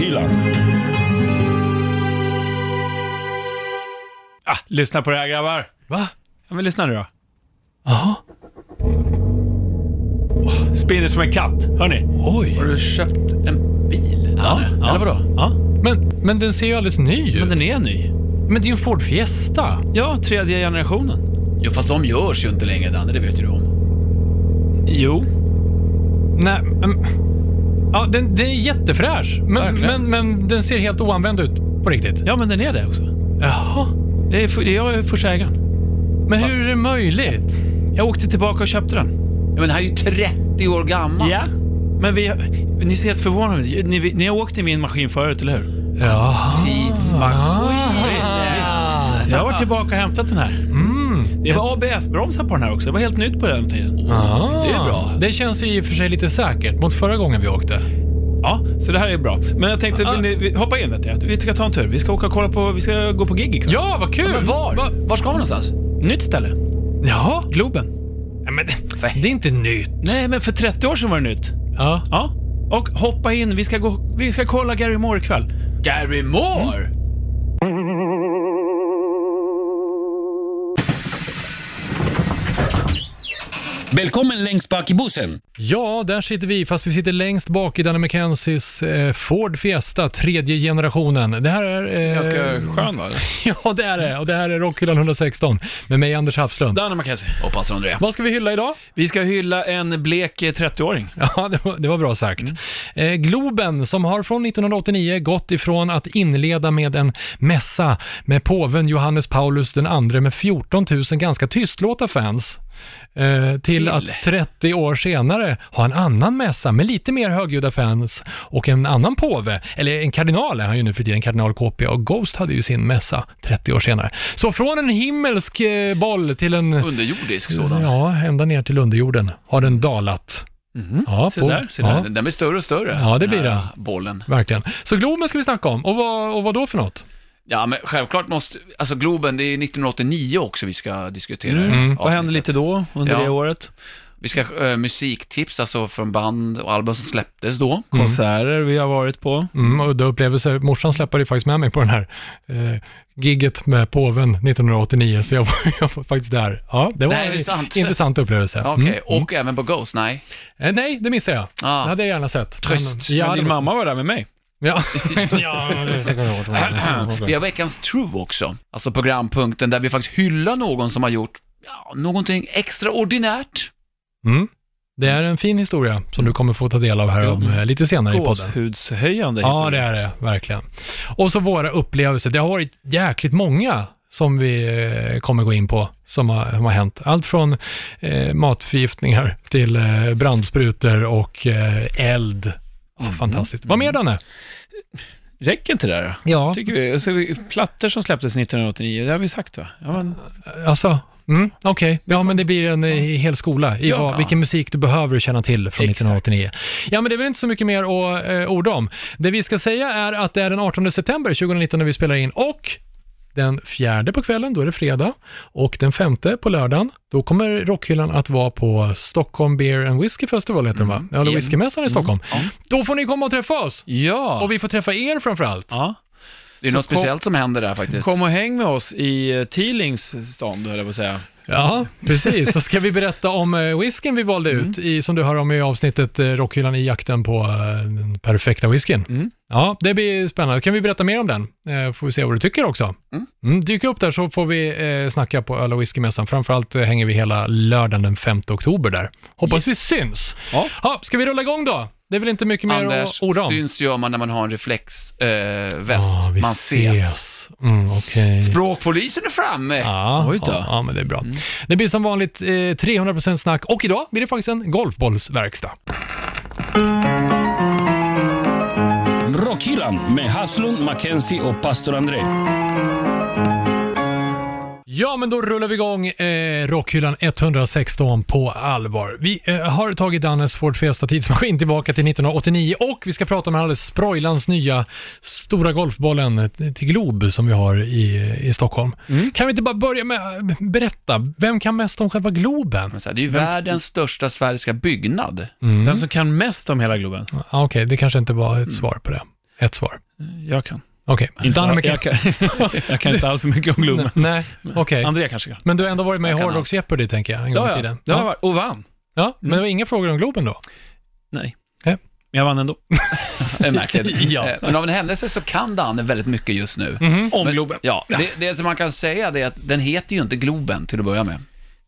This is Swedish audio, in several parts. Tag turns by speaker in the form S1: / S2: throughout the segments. S1: bilen.
S2: Ah, lyssna på det här grabbar.
S3: Va?
S2: Ja, men lyssna nu då.
S3: Jaha.
S2: Spinner som en katt. Hörni.
S3: Oj.
S1: Har du köpt en bil,
S3: Ja,
S1: Danne?
S3: ja.
S1: Eller vadå?
S2: Ja,
S3: Men, men den ser ju alldeles ny ut.
S2: men den är ny.
S3: Men det är ju en Ford Fiesta.
S2: Ja, tredje generationen.
S1: Jo, fast de görs ju inte längre, Danne. Det vet ju du om.
S2: Jo.
S3: Nej, men... Ja, den, den är jättefräsch. Men,
S1: Verkligen.
S3: men, men den ser helt oanvänd ut på riktigt.
S2: Ja, men den är det också.
S3: Jaha.
S2: Det är, för- jag är första ägaren.
S3: Men hur är det möjligt?
S2: Jag åkte tillbaka och köpte den.
S1: Ja, men den här är ju 30 år gammal.
S2: Men vi, ni ser helt förvånade ut. Ni, ni har åkt i min maskin förut, eller hur? Ah.
S3: Ja.
S1: Tidsmaskin.
S3: Ah.
S2: Jag har varit tillbaka och hämtat den här.
S3: Mm.
S2: Det var ABS-bromsar på den här också. Det var helt nytt på den tiden.
S3: Ah.
S1: Det är bra.
S3: Det känns ju i och för sig lite säkert mot förra gången vi åkte.
S2: Ja, så det här är bra. Men jag tänkte,
S3: Ah.
S2: vill ni, vi- hoppa in vet jag. Vi ska ta en tur. Vi ska åka och kolla på, vi ska gå på gig ikväll.
S3: Ja, vad kul!
S1: Men var?
S3: Va?
S1: Var ska vi någonstans?
S2: Nytt ställe.
S3: Ja.
S2: Globen.
S3: Nej, Men,
S1: För-
S3: det är inte nytt.
S2: Nej, men för 30 år sedan var det nytt.
S3: Ja.
S2: Ja. Och hoppa in, vi ska, gå, vi ska kolla Gary Moore ikväll.
S1: Gary Moore?
S3: Mm.
S4: Välkommen längst bak i bussen.
S3: Ja, där sitter vi, fast vi sitter längst bak i Danny McKenzies eh, Ford Fiesta, tredje generationen. Det här är... Eh,
S5: Ganska skön va?
S3: Ja, det är det. Och det här är Rockhyllan 116 med mig, Anders Hafslund.
S2: Danne Mackenzie.
S1: Hoppas de det.
S3: Vad ska vi hylla idag?
S2: Vi ska hylla en blek Mm. eh, 30-åring.
S3: Ja, det var, det var bra sagt. Eh, Globen, som har från 1989 gått ifrån att inleda med en mässa med påven Johannes Paulus den andre med 14 000 ganska tystlåta fans, eh, till, att 30 år senare ha en annan mässa med lite mer högljudda fans och en annan påve, eller en kardinal är han ju nu för tiden, kardinal KP, och Ghost hade ju sin mässa 30 år senare. Så från en himmelsk eh, boll till en...
S1: Underjordisk sådan.
S3: Ja, ända ner till underjorden har den dalat.
S1: Mhm.
S3: Ja,
S2: Se
S3: på-
S2: där, se där.
S3: ja,
S1: Den, den blir större och större.
S3: Ja, det blir
S1: den.
S3: den.
S1: här Bollen.
S3: verkligen. Så Globen ska vi snacka om. Och vad, och vad då för något?
S1: Ja, men självklart måste, alltså Globen, det är 1989 också vi ska diskutera.
S3: Mm.
S1: i
S2: Vad
S1: avsnittet.
S2: hände lite då, under
S1: Ja.
S2: det året?
S1: Vi ska eh, musiktips, alltså från band och album som släpptes då.
S2: Konserter vi har varit på.
S3: Mm, och då upplevelser. Morsan släppade ju faktiskt med mig på den här eh, gigget med påven 1989, så jag var, jag var faktiskt där. Ja, det var
S1: Det här är
S3: en
S1: sant.
S3: intressant upplevelse.
S1: Ja, Okej,
S3: Mm.
S1: och även på Ghost, nej.
S3: Eh, nej, det missade jag.
S1: Ah.
S3: Det hade jag gärna sett.
S1: Tröst.
S3: Men, ja,
S2: Men din
S3: det-
S2: mamma var där med mig.
S3: Ja, ja det ska jag ihåg.
S1: Vi har veckans True också, alltså programpunkten där vi faktiskt hyllar någon som har gjort ja, någonting extraordinärt.
S3: Mm. Det är en fin historia som du kommer få ta del av här om, eh, lite senare i podden.
S2: Gåshudshöjande
S3: Ja, det är det, verkligen. Och så våra upplevelser. Det har varit jäkligt många som vi eh, kommer gå in på, som har, som har hänt. Allt från eh, matförgiftningar till eh, brandsprutor och eh, eld. Ja, fantastiskt. Vad mer Danne?
S2: Räcker inte det där?
S3: Ja,
S2: Tycker vi. Och så har vi plattor som släpptes 1989, det har vi sagt va? Ja, men,
S3: alltså, mm, okej. Ja, men det blir en eh, hel skola i
S2: Ja.
S3: vad, vilken musik du behöver känna till från
S2: Exakt.
S3: 1989. Ja, men det är väl inte så mycket mer att eh, orda om. Det vi ska säga är att det är den 18 september 2019 när vi spelar in och den fjärde på kvällen, då är det fredag. Och den femte på lördagen, då kommer Rockhyllan att vara på Stockholm Beer and Whiskey Festival, heter den va?
S2: Mm.
S3: Eller
S1: igen.
S3: whiskymässan i Stockholm. Då får ni komma och träffa oss!
S2: ja.
S3: Och vi får träffa er framförallt. allt.
S2: ja.
S1: Det är
S2: Så
S1: något
S2: kom-
S1: speciellt som händer där faktiskt.
S2: Kom och häng med oss i eh, Tealings stånd, höll jag på att säga.
S3: Ja, precis. Så ska vi berätta om eh, whiskyn vi valde ut,
S1: Mm.
S3: i, som du hör om i avsnittet eh, Rockhyllan i jakten på eh, den perfekta whiskyn.
S2: Mm.
S3: Ja, det blir spännande. Kan vi berätta mer om den? Eh, får vi se vad du tycker också. Mm. dyk upp där så får vi eh, snacka på öl och whiskymässan. Framförallt eh, hänger vi hela lördagen den 5 oktober där. Hoppas vi syns.
S2: Ja.
S3: Ja, ska vi rulla igång då? Det är väl inte mycket mer
S1: Anders,
S3: att orda om?
S1: syns gör man när man har en reflexväst. Eh, väst.
S3: Ja, vi
S1: man ses.
S3: Mm, Okej.
S1: Språkpolisen är framme!
S3: Ja,
S2: Oj då. Mm.
S3: ja, ja, men det är bra. Det blir som vanligt eh, 300% snack och idag blir det faktiskt en golfbollsverkstad.
S4: Rockhyllan med Haslund, Mackenzie och pastor André.
S3: Ja, men då rullar vi igång eh, Rockhyllan 116 på allvar. Vi eh, har tagit Dannes Ford Fiesta tidsmaskin tillbaka till 1989 och vi ska prata om alldeles Sproilans nya stora golfbollen eh, till Glob som vi har i, i Stockholm.
S2: Mm.
S3: Kan vi inte bara börja med att berätta, vem kan mest om själva Globen?
S2: Mm.
S1: Men så här, Det är ju världens största sfäriska byggnad.
S3: Mm.
S2: Den som kan mest om hela Globen.
S3: Ah, Ja, Okej, det kanske inte var ett svar på det. ett svar.
S2: Jag kan.
S3: Okej,
S2: Mm. Inte
S3: Danne
S2: jag, jag,
S3: McKenzie.
S2: kan jag kan inte alls så mycket om Globen.
S3: Nej, okej.
S2: Andrea kanske kan.
S3: Men du har ändå varit med i
S1: Jag kan
S3: Hårdrocks Jeopardy, tänker jag, en
S2: Det
S3: gång i
S2: har jag
S3: tiden.
S2: haft. Det har jag
S3: ja.
S2: varit. Och vann.
S3: ja, men det var inga frågor om Globen då?
S2: Nej.
S3: Nej.
S2: Men jag vann ändå.
S3: Mm.
S1: är märkligt.
S2: Ja. Mm.
S1: Eh, Men av en händelse så kan Danne väldigt mycket just nu.
S3: Mhm.
S2: Om
S1: Men-
S2: Globen.
S1: Ja, det, det som man kan säga det är att den heter ju inte Globen till att börja med.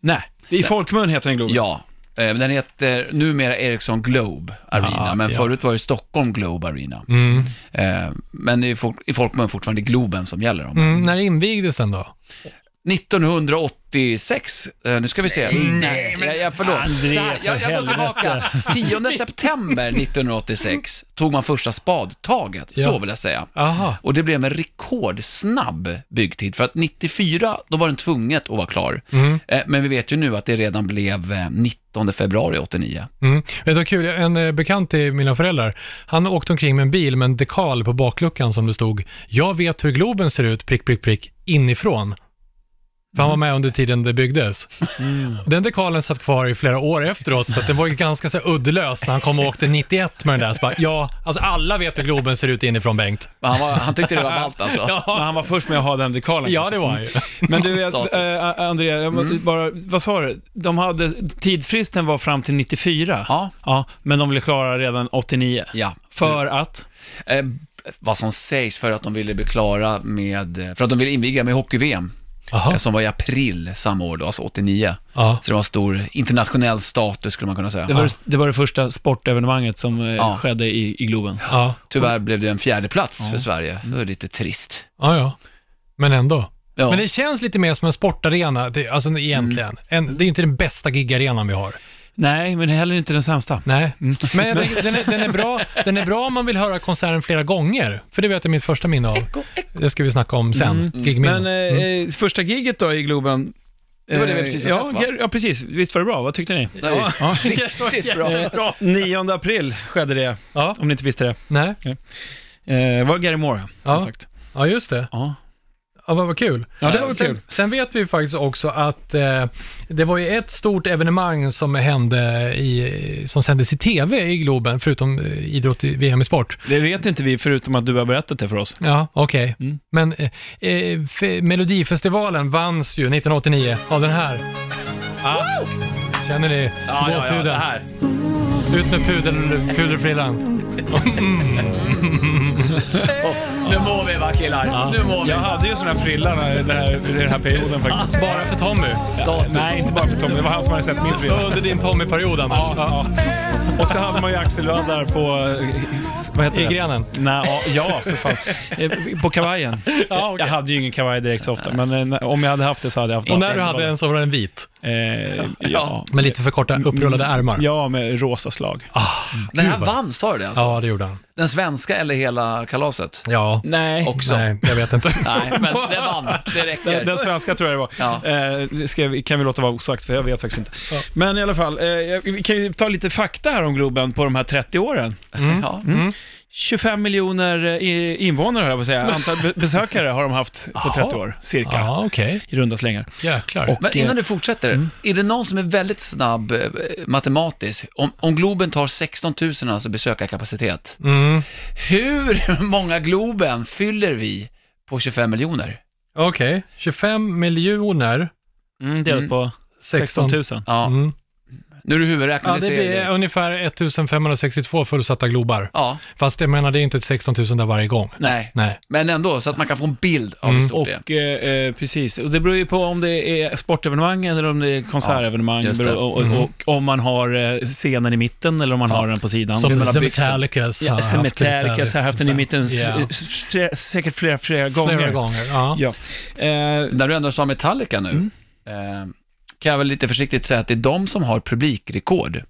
S2: Nej, i folkmun heter den Globen.
S1: Ja, eh, men den heter numera Ericsson Globe Arena,
S3: Ja,
S1: men
S3: ja.
S1: förut var det Stockholm Globe Arena.
S3: Mm.
S1: Eh, Men i folk- i folkmun fortfarande Globen som gäller. Om.
S3: Mm, när invigdes den då?
S1: 1986, eh, nu ska vi se. Nej, jag, jag, förlåt.
S2: André,
S1: Så här, jag,
S2: för
S1: jag går tillbaka. 10 september 1986 tog man första spadtaget,
S3: Ja.
S1: så vill jag säga.
S3: Aha.
S1: Och det blev en rekordsnabb byggtid, för att 94, då var den tvunget att vara klar.
S3: Mm.
S1: Eh, Men vi vet ju nu att det redan blev eh, 19 februari 89.
S3: Mm. Vet du vad kul? En eh, bekant till mina föräldrar, han åkte omkring med en bil med en dekal på bakluckan som det stod “Jag vet hur Globen ser ut, prick, prick, prick, inifrån”. För han var med under tiden det byggdes. Den dekalen satt kvar i flera år efteråt, så att det var ju ganska så här uddlöst när han kom och åkte 91 med den där. Så bara, ja, alltså alla vet hur Globen ser ut inifrån, Bengt.
S1: Men Han, var, han tyckte det var ballt alltså.
S2: Men
S3: Ja,
S2: han var först med att ha den dekalen.
S3: ja
S2: kanske.
S3: det var han ju.
S2: Men du,
S1: Status. Mm.
S2: äh, Andrea, jag må- bara, vad sa du? De hade, tidsfristen var fram till 94.
S1: Ja,
S2: Ja, men de blev klara redan 89.
S1: ja.
S2: För att?
S1: Eh, vad som sägs för att de ville bli klara med, eh, för att de ville inviga med hockey-VM,
S3: Jaha.
S1: eh, som var i april samma år då, alltså 89.
S3: Ja.
S1: Så det var stor internationell status skulle man kunna säga.
S2: Det var, det, var det första sportevenemanget som eh,
S1: Ja.
S2: skedde i, i Globen.
S3: Ja.
S1: Tyvärr blev det en fjärde plats för Sverige, det var lite trist.
S3: ja, ja. Men ändå.
S1: Ja.
S3: Men det känns lite mer som en sportarena, det, alltså egentligen.
S2: Mm.
S3: En, det är ju inte den bästa gigarenan vi har.
S2: Nej, men heller inte den sämsta.
S3: Nej,
S2: Mm.
S3: men jag tänker, den, är, den, är bra, den är bra om man vill höra konserten flera gånger, för det vet jag mitt första minne av. Det ska vi snacka om sen,
S2: Mm.
S3: gigminnen.
S2: Men eh, eh, första giget då i Globen?
S1: Det var det vi
S2: eh,
S1: precis har
S2: ja,
S1: sagt, va?
S2: Ger- ja, precis. Visst var det bra? Vad tyckte ni?
S1: Det var ju riktigt bra.
S2: Eh, 9 april skedde det,
S3: ja,
S2: om ni inte visste det.
S3: nej,
S2: Eh, var Gary Moore, som
S3: Ja.
S2: sagt.
S3: ja, just det.
S2: Ja.
S3: Ja, vad, vad kul.
S2: Ja, det
S3: sen,
S2: var kul.
S3: Sen, sen vet vi ju faktiskt också att eh, det var ju ett stort evenemang som hände i, som sändes i tv i Globen, förutom eh, idrott i VM i sport.
S2: Det vet inte vi, förutom att du har berättat det för oss.
S3: Ja, okej.
S2: Mm.
S3: Men eh, eh, fe- Melodifestivalen vanns ju 1989 av den här. Ah, känner ni gåshuden? Ut med pudel, pudelfrillan.
S1: Nu mår vi va killar, nu mår vi.
S2: Jag hade ju såna här frillar när- den här, i den här perioden faktiskt.
S3: Bara för Tommy.
S2: Nej, inte bara för Tommy. Det var han som hade sett min frilla.
S3: Under din Tommy-period annars.
S2: Ja, ja. Och så hade man ju axelödar på... eh, Vad heter
S3: I
S2: det?
S3: grenen.
S2: Nej, ja, ja, för fan. Eh, På kavajen.
S3: Ja, okej.
S2: Jag hade ju ingen kavaj direkt så ofta, men eh, när- om jag hade haft det så hade jag haft
S3: Och
S2: något.
S3: när du hade en så var den vit.
S2: Eh, ja. Mm.
S3: Med lite för korta upprullade ärmar. Ah.
S2: ja, med rosa slag.
S1: Den här vann, sa du det alltså?
S3: Ja, det gjorde han.
S1: Den svenska eller hela kalaset?
S3: Ja.
S2: Nej.
S1: Också.
S3: Nej, jag vet inte.
S1: Nej, men den vann, det räcker.
S2: Den, den svenska tror jag det var.
S1: Ja.
S2: Eh, det ska, vi- kan vi låta vara osagt, för jag vet faktiskt inte.
S3: Ja.
S2: Men i alla fall, eh, jag- vi kan ju ta lite fakta här om Globen på de här 30 åren.
S1: Ja.
S2: 25 miljoner eh, i- invånare, höll jag på att säga. Antal be- besökare har de haft på
S3: Jaha.
S2: 30 år, cirka.
S3: Ja, okej.
S2: I runda slängar.
S3: Jäklar.
S2: Och,
S1: Men innan
S2: eh,
S1: du fortsätter,
S3: Mm.
S1: är det någon som är väldigt snabb eh, matematiskt? Om, om Globen tar 16 000 alltså besökarkapacitet,
S3: Mm.
S1: hur många Globen fyller vi på 25 miljoner?
S3: Okej, 25 miljoner.
S2: mm, delat på 16
S3: 16
S2: 000.
S1: Ja,
S3: Mm.
S1: nu är det huvudräkning,
S3: Ja,
S1: du
S3: det
S1: ser det
S3: blir
S1: direkt.
S3: ungefär 1562 fullsatta Globar.
S1: Ja,
S3: Fast jag menar, det är inte ett 16 000 där varje gång.
S1: nej,
S3: Nej.
S1: men ändå så att man kan få en bild av hur
S3: Mm.
S1: stort det är.
S2: Och, eh, eh, precis, och det beror ju på om det är sportevenemang eller om det är konsertevenemang.
S1: Ja, just det.
S2: Beror- och, och,
S3: Mhm.
S2: och om man har eh, scenen i mitten eller om man
S1: Ja.
S2: har den på sidan.
S3: Som
S1: man har
S3: The
S1: byggt den.
S3: Metallicas har
S2: Ja,
S3: haft
S2: sen Metallicas har haft den i mitten s-
S3: Ja.
S2: s- flera, säkert flera, flera gånger.
S3: Flera gånger, ja.
S2: Ja. Eh,
S1: När du ändå sa Metallica nu,
S3: Mm.
S1: eh, kan jag väl lite försiktigt säga att det är de som har publikrekord.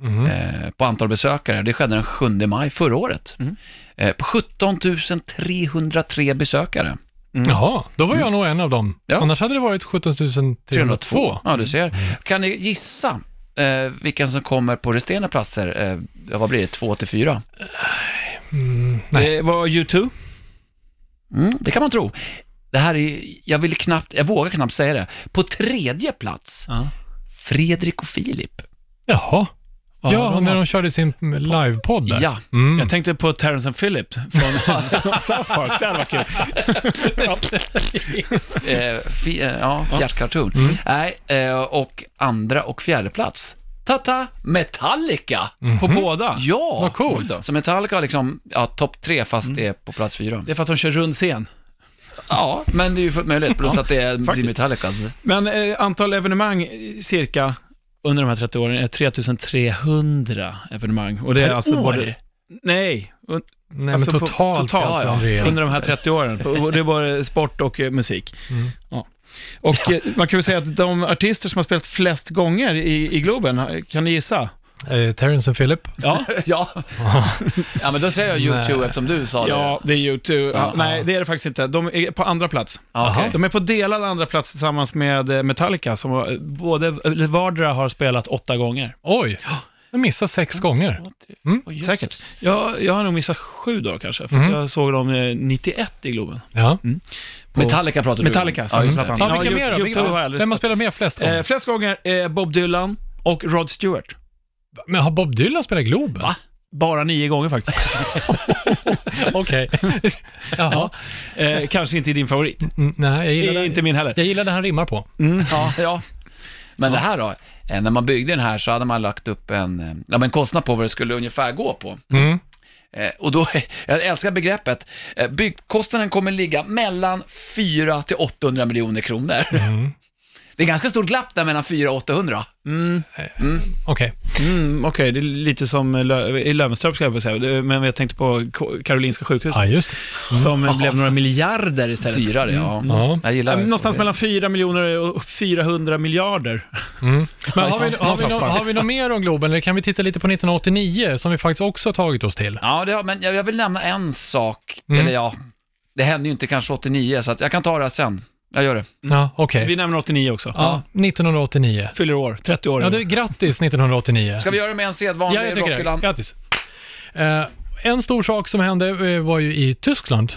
S3: Mhm.
S1: eh, på antal besökare. Det skedde den 7 maj förra året.
S2: Mm.
S1: Eh, på 17 303 besökare.
S3: Jaha, då var jag nog en av dem.
S1: Ja.
S3: Annars hade det varit 17 302.
S1: Ja, du ser. Kan ni gissa eh, vilken som kommer på resterande platser? Eh, ja, vad blir det? 2 till 4?
S3: Mm, nej.
S2: det var U2.
S1: Mm, det kan man tro. Det här är, jag vill knappt, jag vågar knappt säga det. På tredje plats, Fredrik och Filip.
S3: Jaha, Ja,
S2: de
S3: och när
S2: har-
S3: de körde sin mm, livepodd där.
S1: Ja.
S3: Mm.
S2: Jag tänkte på Terrence and Phillip från från South Park. Det hade varit kul.
S1: Eh, fi, eh, ja, fjärrkarton.
S3: Mm.
S1: Nej, eh, och andra och fjärde plats. Tata, Metallica!
S2: På båda.
S1: Ja!
S3: Mm. Vad coolt. Mm.
S1: Så Metallica har liksom, ja, topp tre fast det är på plats fyra.
S2: Det är för att de kör rund scen.
S1: Ja, men det är ju fullt möjligt, plus att det är det är
S2: faktiskt.
S1: Metallicas.
S2: Men eh, antal evenemang eh, cirka under de här 30 åren är 3300 evenemang. Och det är
S1: Per
S2: alltså
S1: år?
S2: både... Nej, un-
S3: Nej,
S2: alltså
S3: men
S2: på-
S3: totalt,
S2: totalt,
S3: alltså,
S1: ja,
S3: André.
S2: under de här 30 åren. På- och Det är både sport och eh, musik.
S3: Mm.
S2: Ja. Och eh, man kan väl säga att de artister som har spelat flest gånger i, i Globen, eh, kan ni gissa?
S3: Eh, Terrence och Philip.
S2: Ja,
S1: Ja. ja, men då säger jag YouTube
S3: Nej.
S1: eftersom du sa
S2: ja
S1: det.
S2: det är YouTube. Ja,
S1: Ja.
S2: nej, det är det faktiskt inte. De är på andra plats.
S1: Ja, okej.
S2: De är på delad andra plats tillsammans med eh, Metallica, som har- både eller vardera har spelat åtta gånger.
S3: Oj! Jag missade sex gånger. Mm.
S1: Åh, Jesus.
S2: Säkert. Jag, jag har nog missat sju dagar kanske, för
S3: Mm.
S2: att jag såg dem eh, 91 i Globen.
S3: Ja.
S2: På-
S1: Metallica pratar du om.
S2: Metallica,
S1: ja, just
S2: som
S1: det.
S2: jag
S3: Ja,
S2: Ja,
S3: vilka mer
S2: Youtube-
S3: då?
S2: Youtube har jag
S3: Vilka-
S2: aldrig
S3: Vem har
S2: sett.
S3: spelat med flest gånger?
S2: Eh, flest gånger eh, Bob Dylan och Rod Stewart.
S3: Men har Bob Dylan spelat Globen?
S2: Va? Bara nio gånger faktiskt.
S3: Okej. Jaha.
S2: ja. eh, kanske inte din favorit.
S3: Mm, nej, jag gillar,
S2: Eh,
S3: det.
S2: inte min heller.
S3: jag gillar det han rimmar på.
S1: Ja, Mm. ja. Men det här då? eh, När man byggde den här så hade man lagt upp en, eh, ja, men kostnad på vad det skulle ungefär gå på.
S3: Mm.
S1: Eh, Och då, jag älskar begreppet, eh, byggkostnaden kommer ligga mellan 400 till 800 miljoner kronor.
S3: Mm.
S1: Det är ganska stort glapp där mellan 400 och 800.
S2: Mm,
S3: Okej.
S2: mm, Okej, det är lite som eh, Lö- i Löwenström ska jag väl säga, Det- men jag tänkte på K- Karolinska sjukhuset,
S3: Ja, just det.
S2: som eh, blev några miljarder istället.
S1: Dyrare, ja.
S3: Ja.
S1: Jag gillar
S2: Eh,
S1: det.
S2: Någonstans mellan 4 miljoner och 400 miljarder.
S3: Mm. Men har vi, har, vi
S2: någonstans
S3: no,
S2: bara.
S3: har vi något mer om Globen? Eller kan vi titta lite på 1989 som vi faktiskt också har tagit oss till?
S1: Ja, det, har- men jag jag vill nämna en sak,
S3: Mm.
S1: eller ja, det hände ju inte kanske 89, så att jag kan ta det här sen. Jag gör det.
S3: Ja, okej.
S2: Vi nämner 89 också.
S3: Ja, 1989.
S2: Fyller år, 30 år.
S3: Ja, du, grattis 1989.
S1: Ska vi göra det med en
S3: Ja, jag
S1: sedvanlig
S3: tycker det.
S1: Rockyland?
S3: Grattis. Eh, en stor sak som hände eh, var ju i Tyskland.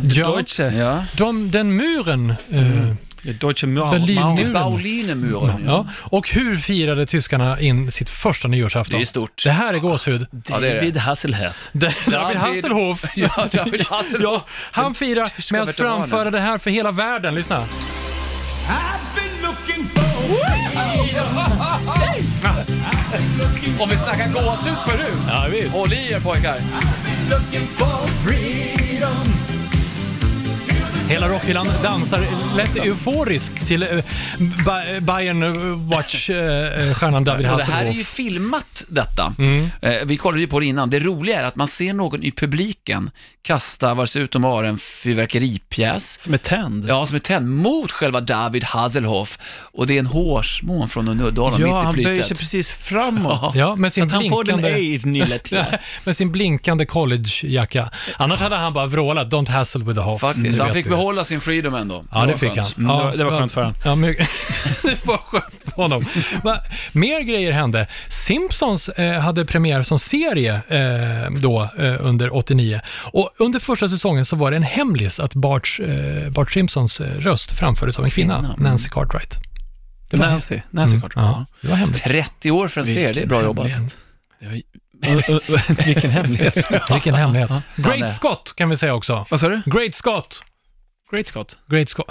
S3: Ja.
S2: Deutsche.
S1: Ja.
S3: De, den muren, eh,
S2: Ja. Deutsche Mauer.
S3: Berlinmuren.
S1: Berlinemuren, ja.
S3: ja. Och hur firade tyskarna in sitt första nyårsafton?
S1: Det är stort.
S3: Det här är gåshud.
S1: Ja, det är det.
S2: David Hasselhoff.
S3: David Hasselhoff.
S1: Ja, David Hasselhoff.
S3: Han firar
S1: tyska
S3: med att
S1: veteranen.
S3: framföra det här för hela världen. Lyssna.
S5: I've been looking for
S1: Om vi snackar gåshud förut.
S2: Ja, visst.
S1: Håll i er pojkar.
S5: looking for freedom.
S3: Hela Rockyland dansar lätt euforiskt till eh, Ba- eh, Bayern eh, Watch-stjärnan David
S1: Och det här är ju
S3: Hasselhoff.
S1: filmat detta.
S3: Mm.
S1: Eh, vi kollade ju på det innan. Det roliga är att man ser någon i publiken kasta, vad det ser ut att vara, en fyrverkeripjäs.
S2: Som är tänd.
S1: Ja, som är tänd mot själva David Hasselhoff. Och det är en hårsmån från Uddevalla
S2: Ja,
S1: mitt i
S2: han böjer
S1: flytet.
S2: sig precis framåt.
S3: Ja, med sin
S2: Att han får den
S3: blinkande...
S2: age-nillet.
S3: Med sin blinkande collegejacka. Annars hade han bara vrålat “Don't hassle with the hoff”.
S1: Faktiskt,
S3: Mm, Det
S1: han
S3: vet
S1: fick
S3: vi.
S1: behålla sin freedom ändå.
S3: Ja, det
S1: var
S3: fick
S1: skönt.
S3: han.
S2: Mm,
S3: ja,
S2: det var- det var skönt för han.
S3: Ja, men, det var skönt för honom. Men, mer grejer hände. Simpsons eh, hade premiär som serie eh, då eh, under 89. Och under första säsongen så var det en hemlis att Bart, eh, Bart Simpsons eh, röst framfördes av en kvinna,
S1: Kvinna, mm.
S3: Nancy Cartwright.
S2: Nancy,
S3: Mm.
S2: Nancy Cartwright.
S3: Ja, det var hemligt.
S1: 30 år för en serie, det är bra jobbat.
S2: Ja. Vilken hemlighet.
S3: Vilken hemlighet.
S1: Ja, det-
S3: Great Scott kan vi säga också.
S2: Vad sa du?
S3: Great Scott.
S2: Great Scott.
S3: Great Scott.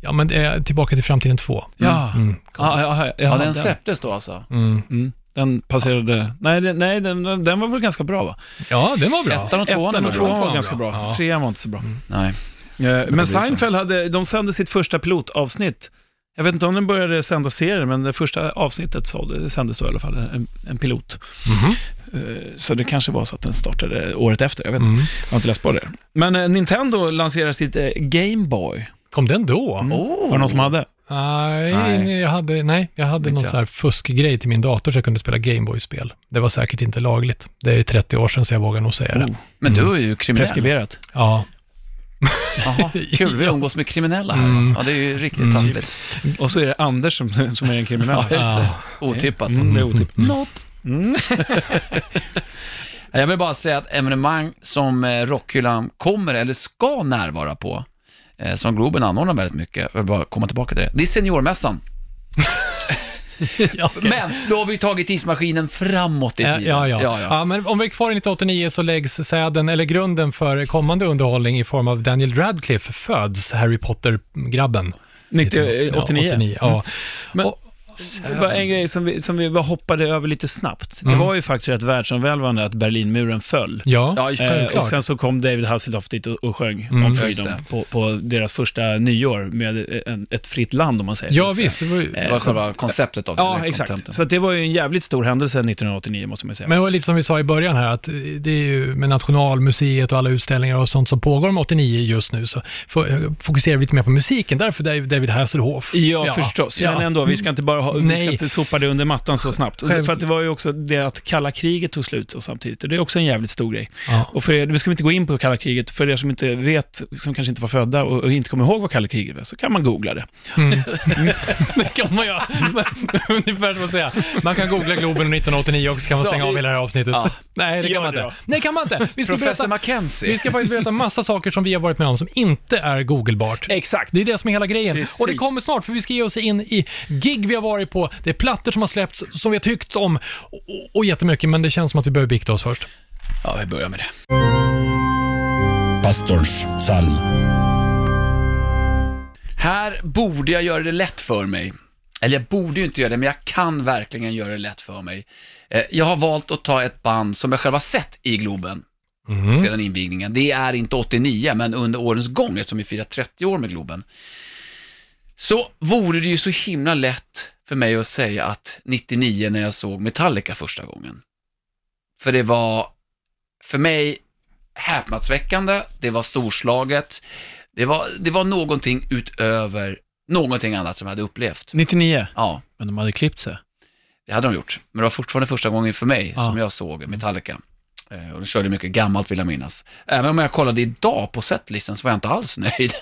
S3: Ja, men det är Tillbaka till framtiden 2.
S1: Ja.
S3: Mm.
S2: Ja, ja, ja,
S1: ja, den släpptes då alltså.
S3: Mm.
S2: Mm. Den passerade... Nej, den, nej den, den- den var väl ganska bra, va?
S3: Ja, den var bra.
S1: Ettan och tvåan
S2: Ettan och
S1: är bra.
S2: tvåan
S3: Fan,
S2: var
S3: bra.
S2: ganska bra.
S3: Ja.
S2: Trean var inte så bra.
S1: Nej.
S2: Eh, Men
S1: så.
S2: Seinfeld hade, de sände sitt första pilotavsnitt. Jag vet inte om den började sända serien, men det första avsnittet sålde, sändes då i alla fall, en, en pilot.
S3: Mhm.
S2: Eh, Så det kanske var så att den startade året efter, jag vet inte.
S3: Mm.
S2: Jag har inte läst på det. Men eh, Nintendo lanserar sitt eh, Game Boy.
S3: Kom den då?
S1: Oh.
S2: Var det någon som hade?
S3: Nej,
S1: Nej.
S3: nej, jag hade, nej, jag hade
S1: Inte
S3: någon
S1: jag.
S3: så här fuskgrej till min dator så jag kunde spela Gameboy-spel. Det var säkert inte lagligt. Det är 30 år sedan så jag vågar nog säga det.
S1: Men du är ju kriminell.
S2: Preskriberat.
S3: Ja.
S1: Jaha, kul, vi umgås med kriminella här.
S3: Mm.
S1: Ja, det är ju riktigt
S3: Mm.
S1: taffligt.
S2: Och så är det Anders som, som är en kriminell.
S1: Ja, just det.
S3: Ah.
S1: Otippat.
S2: Mm, det är otippat.
S1: Något.
S2: Mm.
S1: Jag vill bara säga att evenemang som eh, Rockhyllan kommer eller ska närvara på, eh, som Globen anordnar väldigt mycket, jag vill bara komma tillbaka till det, det är Seniormässan.
S3: Ja, okej.
S1: Men då har vi tagit tidsmaskinen framåt i
S3: Ja,
S1: tiden.
S3: Eh, ja, ja. ja, men om vi är kvar i 1989 så läggs säden, eller grunden för kommande underhållning i form av Daniel Radcliffe föds, Harry Potter-grabben.
S2: 90,
S3: Mm. Ja,
S2: 89.
S1: Mm.
S3: ja.
S2: Men-
S3: Och-
S2: Mm. Bara en grej som vi, som vi bara hoppade över lite snabbt. Det
S3: Mm.
S2: var ju faktiskt rätt världsomvälvande att Berlinmuren föll.
S3: ja.
S1: Ja,
S2: Eh, och
S1: självklart.
S2: sen så kom David Hasselhoff dit och, och sjöng
S3: Mm.
S2: om
S1: Ja, just
S2: freedom på, på deras första nyår med en, ett fritt land om man säger.
S3: ja, visst. Det var ju...
S1: Det var själva konceptet av det.
S2: Ja,
S1: eller
S2: exakt.
S1: contenten.
S2: Så att det var ju en jävligt stor händelse 1989 måste man ju säga.
S3: Men det var lite som vi sa i början här, att eh, det är ju med Nationalmuseet och alla utställningar och sånt som pågår om 89 just nu, så fo- eh, fokuserar vi lite mer på musiken. Därför Dave- David Hasselhoff.
S2: Ja, förstås.
S3: ja.
S2: Men ändå, vi ska inte bara ha, vi ska
S3: Nej.
S2: inte sopa det under mattan så snabbt.
S3: Själv-
S2: För att det var ju också det att kalla kriget tog slut och samtidigt. Och det är också en jävligt stor grej.
S3: Ja.
S2: Och för er, nu ska vi inte gå in på kalla kriget, för er som inte vet, som kanske inte var födda och, och inte kommer ihåg vad kalla kriget var, så kan man googla det.
S3: Det kan man göra. Men- Ungefär som att säga, man kan googla Globen 1989 också, kan man
S1: Så.
S3: stänga av hela det här avsnittet.
S1: Ja.
S3: Nej, det
S2: Gör
S3: kan man
S2: det
S3: inte.
S2: då.
S3: Nej, kan man inte. Vi ska,
S1: Professor
S3: berätta,
S1: Mackenzie.
S3: vi ska faktiskt berätta massa saker som vi har varit med om som inte är googlebart.
S2: Exakt.
S3: Det är det som är hela grejen.
S2: Precis.
S3: Och det kommer snart, för vi ska ge oss in i gig vi har varit på. Det är plattor som har släppts, som vi har tyckt om och, och jättemycket, men det känns som att vi behöver bikta oss först.
S1: Ja, vi börjar med det.
S4: Pastors psalm.
S1: Här borde jag göra det lätt för mig. Eller jag borde ju inte göra det, men jag kan verkligen göra det lätt för mig. Eh, Jag har valt att ta ett band som jag själv har sett i Globen
S3: Mhm. Mm.
S1: sedan invigningen. Det är inte 89, men under årens gång, eftersom vi firar 30 år med Globen. Så vore det ju så himla lätt för mig att säga att 99 när jag såg Metallica första gången. För det var, för mig, häpnadsväckande, det var storslaget, det var, det var någonting utöver någonting annat som jag hade upplevt.
S2: 99.
S1: Ja,
S2: Men de hade klippt sig.
S1: det hade de gjort. Men det var fortfarande första gången för mig
S2: Ja.
S1: som jag såg Metallica. Eh, Och de körde mycket gammalt vill jag minnas. Även om jag kollade idag på setlistan så var jag inte alls nöjd.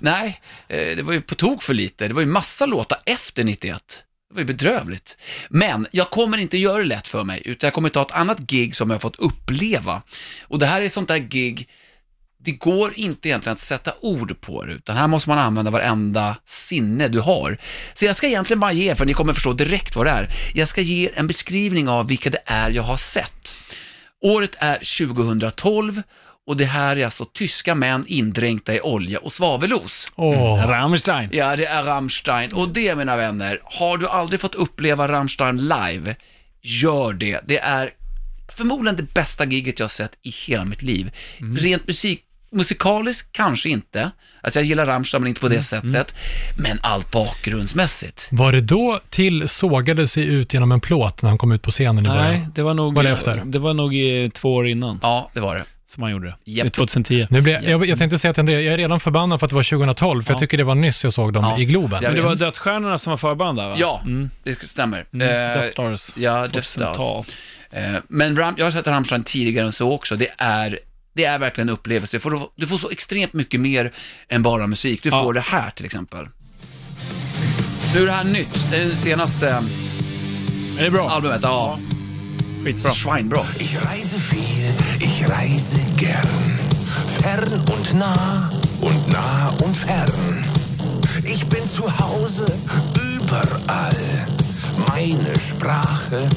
S1: Nej, eh, det var ju på tok för lite. Det var ju massa låtar efter 91. Det var ju bedrövligt. Men jag kommer inte göra det lätt för mig, utan jag kommer ta ett annat gig som jag fått uppleva. Och det här är sånt där gig, det går inte egentligen att sätta ord på det, utan här måste man använda varenda sinne du har. Så jag ska egentligen bara ge er, för ni kommer förstå direkt vad det är, jag ska ge er en beskrivning av vilka det är jag har sett. Året är 2012 och det här är alltså tyska män indränkta i olja och svavelos.
S2: Mm.
S3: Åh.
S2: Rammstein.
S1: Ja, det är Rammstein. Och det, mina vänner, har du aldrig fått uppleva Rammstein live, gör det. Det är förmodligen det bästa giget jag har sett i hela mitt liv.
S2: Mm.
S1: Rent musik, musikaliskt kanske inte. Alltså jag gillar Rammstein, men inte på det
S2: Mm,
S1: sättet. Men allt bakgrundsmässigt.
S3: Var det då till sågade sig ut genom en plåt när han kom ut på scenen i början?
S2: Nej, det var nog,
S3: Var det efter?
S2: det var nog eh, två år innan
S1: Ja, det var det.
S2: som han gjorde det.
S1: Japp.
S2: Det är 2010.
S3: Nu blir jag, jag, jag tänkte säga till André, jag är redan förbannad för att det var 2012, för jag tycker det var nyss jag såg dem
S1: Ja.
S3: i Globen.
S1: Jag
S2: Men det
S1: vet.
S2: var Dödsstjärnorna som var förband där va?
S1: Ja,
S2: Mm.
S1: det stämmer.
S2: Mm.
S1: Eh,
S2: Death Stars.
S1: Ja, Death Stars.
S2: 2000-tal.
S1: Eh, Men Ram, jag har sett Rammstein tidigare än så också. Det är, det är verkligen en upplevelse. För du, får- du får så extremt mycket mer än bara musik. Du
S2: Ja.
S1: får det här till exempel. Nu är det här nytt. Det är det senaste eh,
S2: Är det bra?
S1: albumet. Ja,
S2: Skitbra.
S1: svinbra.
S6: Ich reise viel, ich reise gern. Fern und nah und nah och fern. Ich bin zu Hause überall. Meine Sprache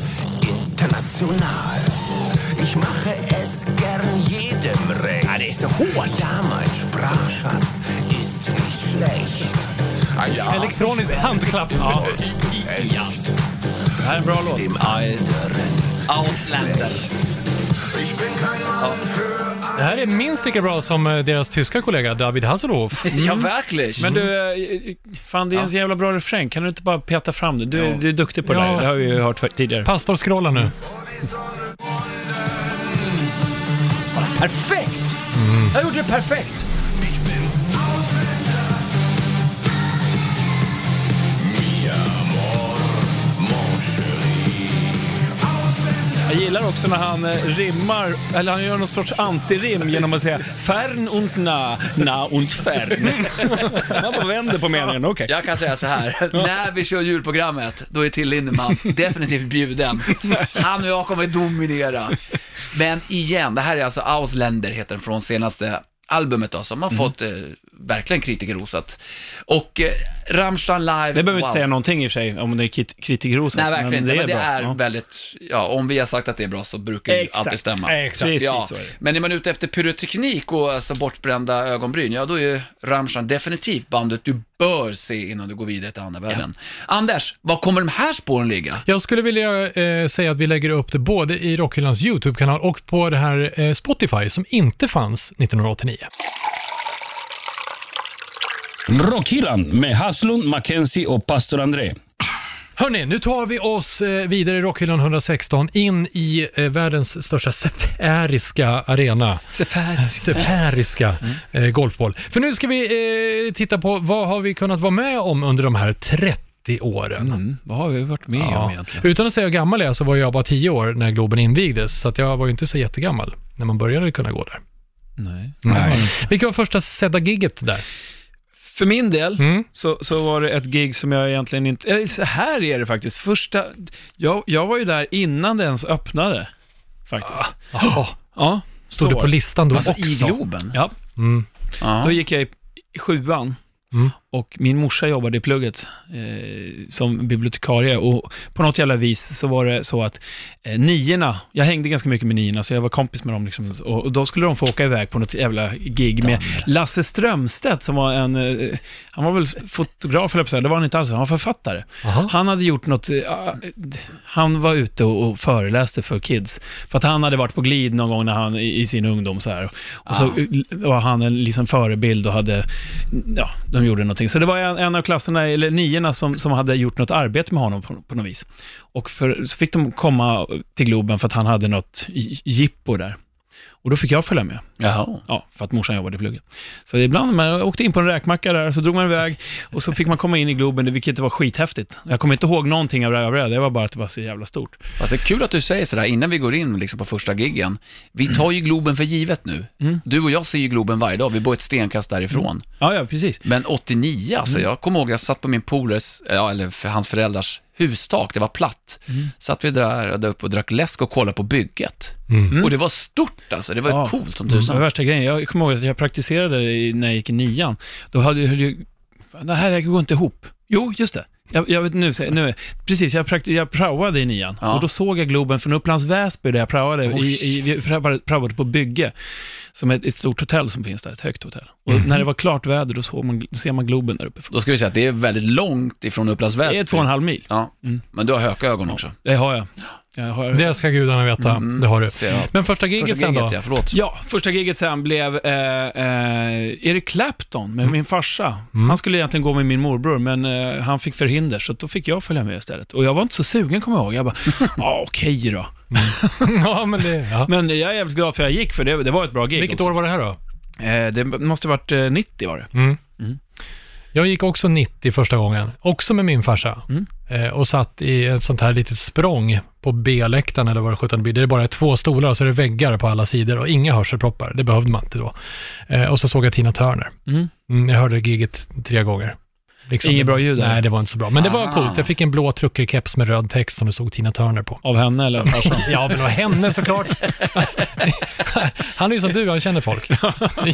S6: international. Ich mache es gern jedem recht. Ja, det är så hårt. Ja, mein Sprachschatz ist nicht schlecht. Ein ja.
S3: Elektronisk handklapp. Ja.
S2: Det här är en bra låt.
S1: Mm.
S6: dem anderen.
S1: Outlander.
S6: Ich bin kein Mann für
S3: Det här är minst lika bra som eh, deras tyska kollega David Hasselhoff.
S1: Ja, verkligen.
S2: Men du, eh, fan det är en så jävla bra refräng. Kan du inte bara peta fram det? Du,
S1: Ja.
S2: du är duktig på det
S3: Ja.
S2: där. Det har vi ju hört för, tidigare.
S3: Pastor, scrolla nu.
S1: Perfekt! Jag gjorde det perfekt.
S2: Jag gillar också när han eh, rimmar, eller han gör någon sorts antirim genom att säga fern und na, na und fern. Han bara vänder på meningen, okej.
S1: Jag kan säga så här, när vi kör julprogrammet, då är Till Lindemann definitivt bjuden. Han och jag kommer dominera. Men igen, det här är alltså Ausländer, heter den från senaste albumet då,
S2: Mhm.
S1: som har fått eh, verkligen kritikerrosat. Och eh, Rammstein live,
S2: Det behöver vi
S1: wow.
S2: inte säga någonting i och för sig om det är krit- kritikerrosat.
S1: Nej, verkligen
S2: men
S1: inte. Men det är,
S2: bra.
S1: väldigt, ja, om vi har sagt att det är bra så brukar det ju
S2: Exakt.
S1: alltid stämma.
S2: Exakt. Precis,
S1: ja.
S2: så är det.
S1: Men är man ute efter pyroteknik och alltså bortbrända ögonbryn, ja då är ju Rammstein definitivt bandet du bör se innan du går vidare till andevärlden. Anders, var kommer de här spåren ligga?
S3: Jag skulle vilja eh, säga att vi lägger upp det både i Rockhyllans YouTube-kanal och på det här eh, Spotify som inte fanns 1989.
S4: Rockhyllan med Haslund, Mackenzie och pastor André.
S3: Hörni, nu tar vi oss eh, vidare i Rockhyllan 116 in i eh, världens största sefäriska arena. Sefäriska. eh, golfboll. För nu ska vi eh, titta på vad har vi kunnat vara med om under de här 30 åren.
S1: vad har vi varit med
S3: Ja. Utan att säga hur gammal jag är så var jag bara 10 år när Globen invigdes, så att jag var ju inte så jättegammal när man började kunna gå där.
S1: Nej.
S3: Vilket var första sedda gigget där?
S2: För min del
S3: Mm.
S2: så, så var det ett gig som jag egentligen inte... Eller så här är det faktiskt. Första... Jag, jag var ju där innan det ens öppnade, faktiskt. Ja, så
S3: Ah. Stod du
S2: var
S3: på
S2: det.
S3: listan då
S1: Alltså
S3: också?
S1: i Globen?
S2: Ja,
S3: Mm.
S1: Ja.
S2: då gick jag i i sjuan.
S3: Mm.
S2: Och min morsa jobbade i plugget eh, som bibliotekarie och på något jävla vis så var det så att eh, niorna, jag hängde ganska mycket med niorna så jag var kompis med dem liksom, och, och då skulle de få åka iväg på något jävla gig med Lasse Strömstedt som var en, eh, han var väl fotograf eller det var han inte alls, han var författare.
S3: Aha.
S2: Han hade gjort något, eh, ah, eh, han var ute och, och föreläste för kids. För att han hade varit på glid någon gång när han, i, i sin ungdom så här. Och så eh, var han en liksom förebild och hade, ja, de gjorde någonting. Så det var en, en av klasserna, eller niorna, som, som hade gjort något arbete med honom på, på något vis. Och för, så fick de komma till Globen för att han hade något j- jippo där. Och då fick jag följa med.
S1: Jaha.
S2: Ja, för att morsan jobbade i plugget. Så ibland man åkte in på en räkmacka där, så drog man iväg och så fick man komma in i Globen, vilket var skithäftigt. Jag kommer inte ihåg någonting av det övriga, det var bara att det var så jävla stort.
S1: Fast det är Alltså, kul att du säger sådär innan vi går in liksom på första giggen. Vi tar ju Globen för givet nu. Du och jag ser ju Globen varje dag, vi bor ett stenkast därifrån.
S2: Ja, ja, precis.
S1: Men 89, alltså jag kommer ihåg, jag satt på min polares, ja, eller för hans föräldrars hustak, det var platt. Satt vi där, där uppe och drack läsk och kollade på bygget. Och det var stort alltså, det var
S2: Ja. Mm.
S1: coolt som
S2: Det
S1: tusan.
S2: var värsta grejen, jag kommer ihåg att jag praktiserade i- när jag gick i nian. Då hade jag, höll jag- fan, det här går inte ihop. Jo, just det. Jag, jag vet nu, säger- nu, precis, jag, prakti- jag praoade i nian
S1: Ja.
S2: och då såg jag Globen från Upplands Väsby där jag praoade. I, i, vi praoade- praoade på bygge, som är ett, ett stort hotell som finns där, ett högt hotell. Och när det var klart väder, då, såg man, då ser man Globen där uppe.
S1: Då ska vi säga att det är väldigt långt ifrån Upplands Väsby.
S2: Det är två och en halv mil.
S1: Ja, men du har hökögon också.
S2: Det har jag. jag har...
S3: Det ska gudarna veta, det har du.
S1: Mm. Ser jag.
S3: Men första giget
S1: Första
S3: sen då?
S1: gigget, ja, förlåt.
S2: Ja, första giget sen blev eh, eh, Eric Clapton med min farsa. Han skulle egentligen gå med min morbror, men eh, han fick förhinder, så då fick jag följa med istället. Och jag var inte så sugen, kommer jag ihåg. Jag bara, ja okej då.
S3: ja, men det, ja.
S2: Men jag är jävligt glad för jag gick, för det, det var ett bra gig.
S3: Vilket
S2: också.
S3: år var det här då?
S2: Eh, det måste ha varit eh, 90 var det.
S3: Jag gick också 90 första gången, också med min farsa.
S2: Mm.
S3: Eh, och satt i ett sånt här litet språng på B-läktaren eller vad det sjutton blir. Det är bara två stolar och så är det väggar på alla sidor och inga hörselproppar. Det behövde man inte då. Eh, och så såg jag Tina Turner.
S2: Mm.
S3: jag hörde giget tre gånger. Liksom,
S2: Inget
S3: det var-
S2: bra ljud där.
S3: Nej, det var inte så bra. Men det var
S1: Ah.
S3: coolt. Jag fick en blå truckerkeps med röd text som det stod Tina Turner på.
S2: Av henne eller av farsan.
S3: Ja, men det var henne såklart. han är ju som du, han känner folk.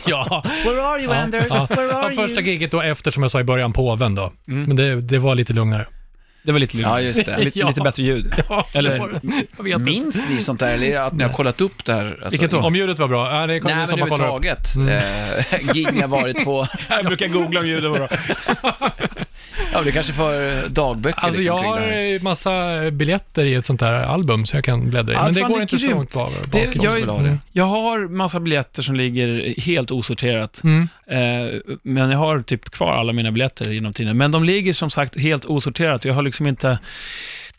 S3: ja.
S1: Where are you Anders?
S3: Ja. Ja, första giget då efter, som jag sa i början, påven då.
S2: Mm.
S3: Men det, det var lite lugnare.
S2: det var lite
S1: Ja,
S2: lugnare.
S1: just det.
S2: lite, lite bättre ljud. Eller-
S3: jag vet inte.
S1: Minns ni sånt där, eller är det att ni har kollat upp det här? Alltså,
S3: Vilket då? Om ljudet var bra? Ja, det kommer
S1: Nej,
S3: Nej, som
S1: men
S3: man kollar upp.
S1: överhuvudtaget. Mm. Gig ni har varit på,
S2: Jag brukar googla om ljudet var bra.
S1: ja det kanske för dagböcker
S3: Alltså
S1: liksom,
S3: jag
S1: kring det
S3: har
S1: här.
S3: eh, massa biljetter i ett sånt här album så jag kan bläddra i.
S2: Ja,
S3: men det
S2: fan,
S3: går
S2: det är
S3: inte så
S2: grymt.
S3: långt på av-
S2: Det,
S3: basket.
S1: skulle ha
S2: jag,
S1: det.
S2: jag har massa biljetter som ligger helt osorterat.
S3: Mm.
S2: Eh, men jag har typ kvar alla mina biljetter genom tiden. Men de ligger som sagt helt osorterat och jag har liksom inte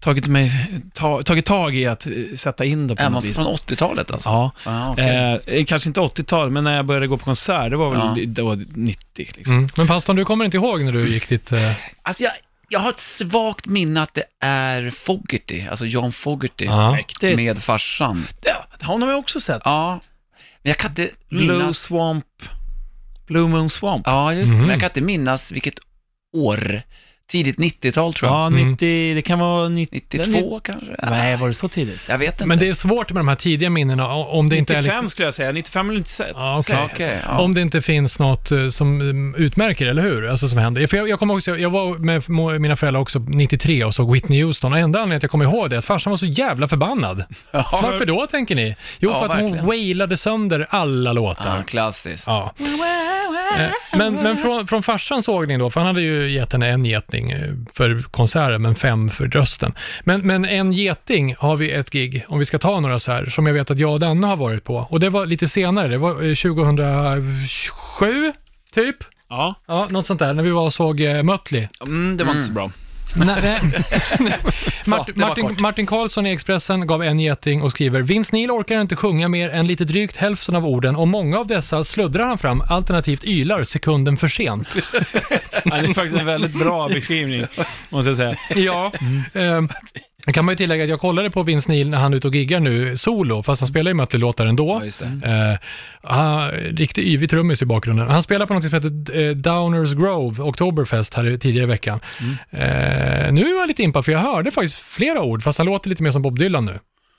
S2: tagit, mig, ta, tagit tag i att eh, sätta in dem på
S1: Även
S2: något vis.
S1: från 80-talet alltså?
S2: Ja.
S1: Ah, okej.
S2: Eh, kanske inte 80-tal, men när jag började gå på konsert, det var väl
S1: Ja.
S2: det var 90. Liksom.
S3: Mm. Men pastorn, du kommer inte ihåg när du gick dit? eh,
S1: Alltså jag, jag har ett svagt minne att det är Fogerty, alltså John Fogerty,
S3: Ja.
S2: Mäktigt.
S1: med farsan.
S2: Ja, honom har jag också sett.
S1: Ja, men jag kan inte
S2: Blue
S1: minnas...
S2: Swamp, Blue Moon Swamp.
S1: Ja, just det, men
S3: Mhm.
S1: jag kan inte minnas vilket år tidigt 90-tal tror jag.
S2: Ja, 90,
S1: Mm.
S2: det kan vara 90,
S1: 92 kanske?
S2: Nej, var det så tidigt?
S1: Jag vet inte.
S3: Men det är svårt med de här tidiga minnena o- om det inte är
S2: 95
S3: liksom...
S2: skulle jag säga, 95 eller 96.
S3: Ja, okej.
S2: säger jag.
S1: Okej, ja.
S3: Om det inte finns något eh, som eh, utmärker, eller hur? Alltså som händer. För jag, jag kommer också, jag var med mo- mina föräldrar också 93 och såg Whitney Houston och enda anledningen att jag kommer ihåg det är att farsan var så jävla förbannad. Varför då tänker ni? Jo,
S1: Ja,
S3: för att hon
S1: verkligen.
S3: wailade sönder alla låtar.
S1: Ja, klassiskt.
S3: Ja. Eh, Men, men från, från farsans sågning då, för han hade ju gett henne en geting eh, för konserten, men fem för rösten. Men, men en geting har vi ett gig, om vi ska ta några så här, som jag vet att jag och Danne har varit på. Och det var lite senare, det var eh, 2007, typ.
S2: Ja.
S3: Ja, något sånt där, när vi var och såg eh, Mötley.
S2: Mm, det var inte så bra.
S3: Nej, nej. Mart,
S1: det var
S3: Martin,
S1: kort.
S3: Martin Karlsson i Expressen gav en geting och skriver Vince Neil orkar inte sjunga mer än lite drygt hälften av orden och många av dessa sluddrar han fram alternativt ylar sekunden för sent.
S2: Ja, det är faktiskt en väldigt bra beskrivning, måste jag säga.
S3: ja. Ehm, då kan man ju tillägga att jag kollade på Vince Neil när han är ute och giggar nu solo, fast han spelar ju Mötley-låtar ändå.
S1: Ja, just det.
S3: Eh, han, riktigt yvig trummis i bakgrunden. Han spelar på något som heter eh, Downers Grove, Oktoberfest, här i- tidigare i veckan. Eh, nu var jag lite impad, för jag hörde faktiskt flera ord, fast han låter lite mer som Bob Dylan nu.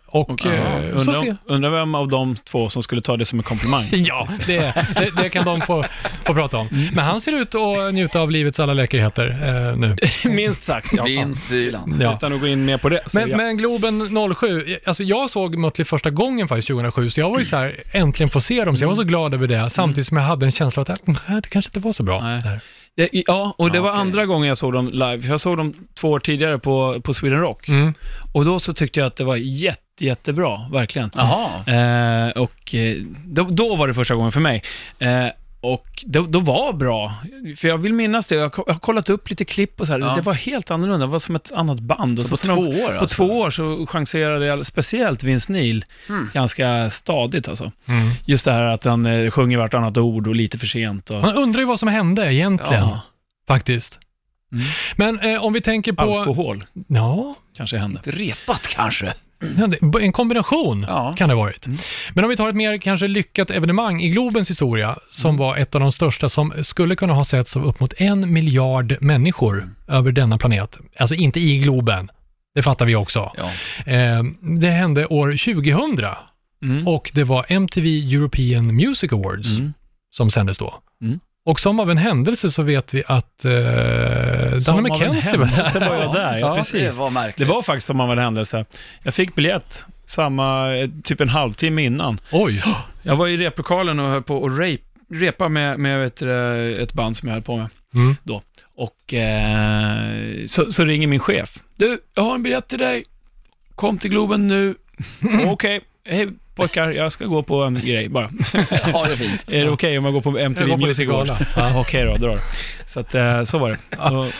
S3: Och eh, så
S2: undrar,
S3: se.
S2: undrar vem av de två som skulle ta det som en komplimang.
S3: Ja, det, det, det kan de få, få prata om. Men han ser ut att njuta av livets alla läckerheter eh, nu.
S2: Minst sagt. Ja.
S1: Vinst Dylan.
S3: Ja.
S2: Utan att gå in mer på det. Så
S3: Men,
S2: ja.
S3: men Globen 07, alltså jag såg Mötley första gången faktiskt 2007, så jag var ju så här, äntligen få se dem, så jag var
S2: Mm.
S3: så glad över det, samtidigt som jag hade en känsla att äh, det kanske inte var så bra.
S2: Nej.
S3: det här.
S2: Det- Ja, och det var
S1: okej.
S2: andra gången jag såg dem live. för Jag såg dem två år tidigare på, på Sweden Rock.
S3: Mm.
S2: Och då så tyckte jag att det var jätte, jättebra, verkligen.
S1: Jaha.
S2: Eh, och eh, då, då var det första gången för mig. Eh, och då, då var bra, för jag vill minnas det. Jag, ko- jag har kollat upp lite klipp och så här.
S1: Ja.
S2: Det var helt annorlunda, det var som ett annat band. Och
S1: Så på
S2: sen
S1: två år
S2: På
S1: alltså?
S2: två år så chanserade jag, speciellt Vince Neil,
S1: Mm.
S2: ganska stadigt alltså.
S3: Mm.
S2: Just det här att han eh, sjunger vartannat ord och lite för sent. Och
S3: Man undrar ju vad som hände egentligen,
S1: Ja.
S3: faktiskt. Men eh, om vi tänker på...
S2: Mm. alkohol
S3: Ja,
S2: kanske hände.
S1: Repat kanske?
S3: ja, det- en kombination
S1: Ja.
S3: kan det ha varit.
S2: Mm.
S3: Men om vi tar ett mer kanske lyckat evenemang i Globens historia, som
S2: Mm.
S3: var ett av de största som skulle kunna ha setts av upp mot en miljard människor
S2: Mm.
S3: över denna planet. Alltså inte i Globen, det fattar vi också.
S1: Ja.
S3: Eh, det hände år 2000
S2: Mm.
S3: och det var MTV European Music Awards
S2: Mm.
S3: som sändes då.
S2: Mm.
S3: Och som av en händelse så vet vi att eh, Danny
S2: Som av en
S3: McKenzie var där.
S2: händelse var jag där, ja,
S1: det
S2: precis.
S1: var märkligt.
S2: Det var faktiskt som av en händelse. Jag fick biljett samma, eh, typ en halvtimme innan.
S3: Oj,
S2: Jag var i replokalen och höll på att rape, repa med, med vet, du, eh, ett band som jag höll på med
S3: Mm.
S2: då. Och eh, så, så ringer min chef. Du, jag har en biljett till dig. Kom till Globen nu. Okej, hej pojkar, jag ska gå på en grej bara.
S1: Ja, det är fint.
S2: Är det okej om jag går på
S3: Jag går
S2: MTV
S3: på
S2: Music
S3: lite
S2: Awards?
S3: gala.
S2: Ja, okej då, dra Så att, eh, så var det. Och,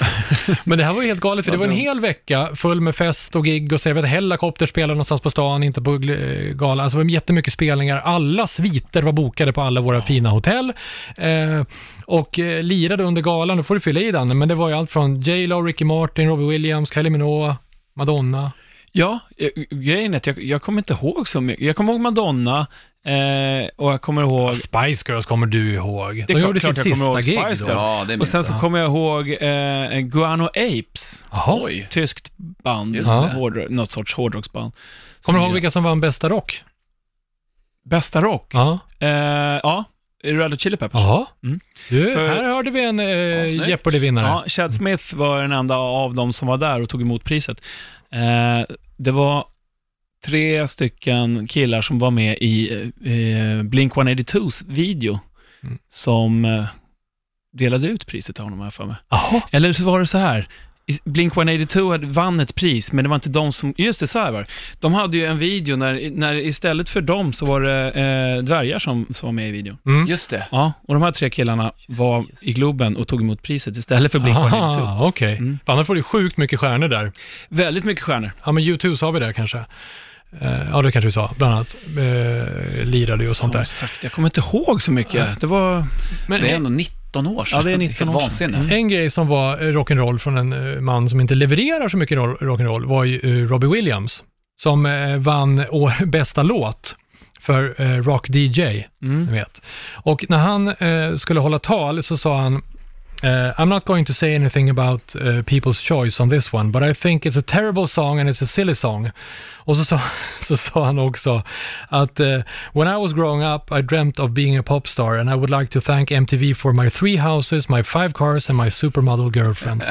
S3: men det här var ju helt galet för det var
S1: Vad
S3: en
S1: dumt.
S3: hel vecka full med fest och gig och så jag vet Hellacopter spelade någonstans på stan, inte på gl- eh, galan. Alltså det var jättemycket spelningar. Alla sviter var bokade på alla våra fina hotell eh, och eh, lirade under galan. Nu får du fylla i den, men det var ju allt från J Lo, Ricky Martin, Robbie Williams, Kylie Minogue, Madonna.
S2: Ja, eh, grejen är att jag, jag kommer inte ihåg så mycket. Jag kommer ihåg Madonna eh, och jag kommer ihåg...
S3: Spice Girls kommer du ihåg.
S2: Det är
S3: De
S2: klart-
S3: gjorde
S2: klart
S3: sitt
S2: jag kommer
S3: sista
S2: ihåg
S3: gig
S2: Spice
S3: då.
S2: Girls.
S1: Ja, det
S2: Och
S1: minns
S2: sen så
S1: jag.
S2: kommer jag ihåg eh, Guano Apes.
S3: Jaha.
S2: Tyskt band,
S1: Just
S3: det.
S2: hård, något sorts hårdrocksband.
S3: Kommer du ihåg vilka som vann bästa rock?
S2: Bästa rock?
S3: Ja.
S2: Eh, ja, Red Hot Chili Peppers.
S3: Jaha. Du,
S2: Mm. För-
S3: här hörde vi en eh,
S1: snyggt.
S3: Jeopardy-vinnare.
S2: Ja, Chad Smith var den enda av dem som var där och tog emot priset. Eh, det var tre stycken killar som var med i eh, Blink-182s video
S3: Mm.
S2: som eh, delade ut priset till honom, har jag för mig.
S3: Jaha.
S2: Eller så var det så här. I- Blink-182 hade- vann ett pris, men det var inte de som... Just det, så här var det. De hade ju en video när, när istället för dem så var det eh, dvärgar som, som var med i videon.
S3: Mm.
S1: Just det.
S2: Ja, och de här tre killarna var i Globen och tog emot priset istället för Blink-182.
S3: Aha, Okej.
S2: Mm.
S3: För Annars får du sjukt mycket stjärnor där.
S2: Väldigt mycket stjärnor.
S3: Ja, men U2 sa vi där kanske. Eh, ja, det kanske vi sa. Bland annat eh, lirade ju och sånt
S2: Som
S3: där.
S2: sagt, jag kommer inte ihåg så mycket. Det var...
S3: Men
S1: Det är ändå 19 år sedan.
S2: Ja, det är 19
S1: Vilket
S2: år sedan. Mm.
S1: vansinne.
S3: en, en grej som var eh, rock'n'roll från en eh, man som inte levererar så mycket roll- rock'n'roll var ju eh, Robbie Williams, som eh, vann år, bästa låt för eh,
S2: Mm.
S3: Rock DJ. Ni vet. Och när han eh, skulle hålla tal så sa han Uh, I'm not going to say anything about uh, people's choice on this one, but I think it's a terrible song and it's a silly song. Och så sa, så sa han också att eh, when I was growing up I dreamt of being a popstar and I would like to thank MTV for my three houses, my five cars and my supermodel girlfriend.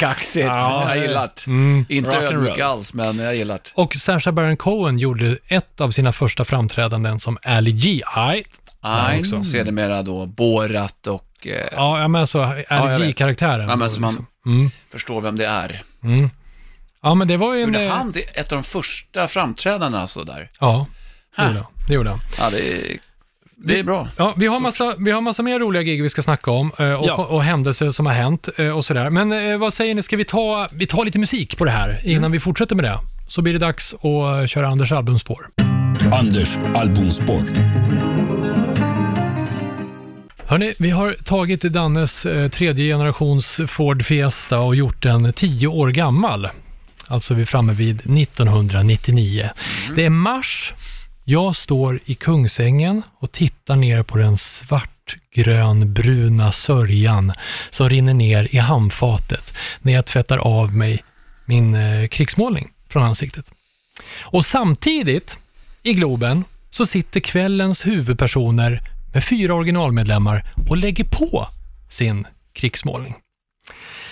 S1: Kaxigt.
S2: Ja,
S1: jag gillar det.
S3: Mm.
S1: Inte
S2: rock and
S1: ödmjuk
S2: roll.
S1: alls, men jag gillar det.
S3: Och Sacha Baron Cohen gjorde ett av sina första framträdanden som Ali G. Aight.
S1: Ein, sedermera då Borat och... Eh, ja,
S3: Mm. Ja, men alltså
S1: jag
S3: Ali
S1: vet.
S3: G-karaktären.
S1: men så man
S3: Mm.
S1: förstår vem det är.
S3: liksom. ja, men det var ju en...
S1: Gjorde
S3: eh,
S1: han det, ett av de första framträdandena så där?
S3: Ja, det gjorde han. Det gjorde han.
S1: Ja, det är, det är bra.
S3: Ja, vi har, massa, vi har massa mer roliga gig vi ska snacka om eh, och,
S2: Ja.
S3: och händelser som har hänt eh, och sådär. Men eh, vad säger ni, ska vi ta, vi tar lite musik på det här innan vi fortsätter med det? Så blir det dags att eh, köra Anders albumspår.
S4: Anders albumspår.
S3: Hörni, vi har tagit Dannes eh, tredje generations Ford Fiesta och gjort den tio år gammal. Alltså vi är framme vid 1999. Det är mars, jag står i Kungsängen och tittar ner på den svartgrönbruna sörjan som rinner ner i handfatet när jag tvättar av mig min eh, krigsmålning från ansiktet. Och samtidigt i Globen så sitter kvällens huvudpersoner med fyra originalmedlemmar och lägger på sin krigsmålning.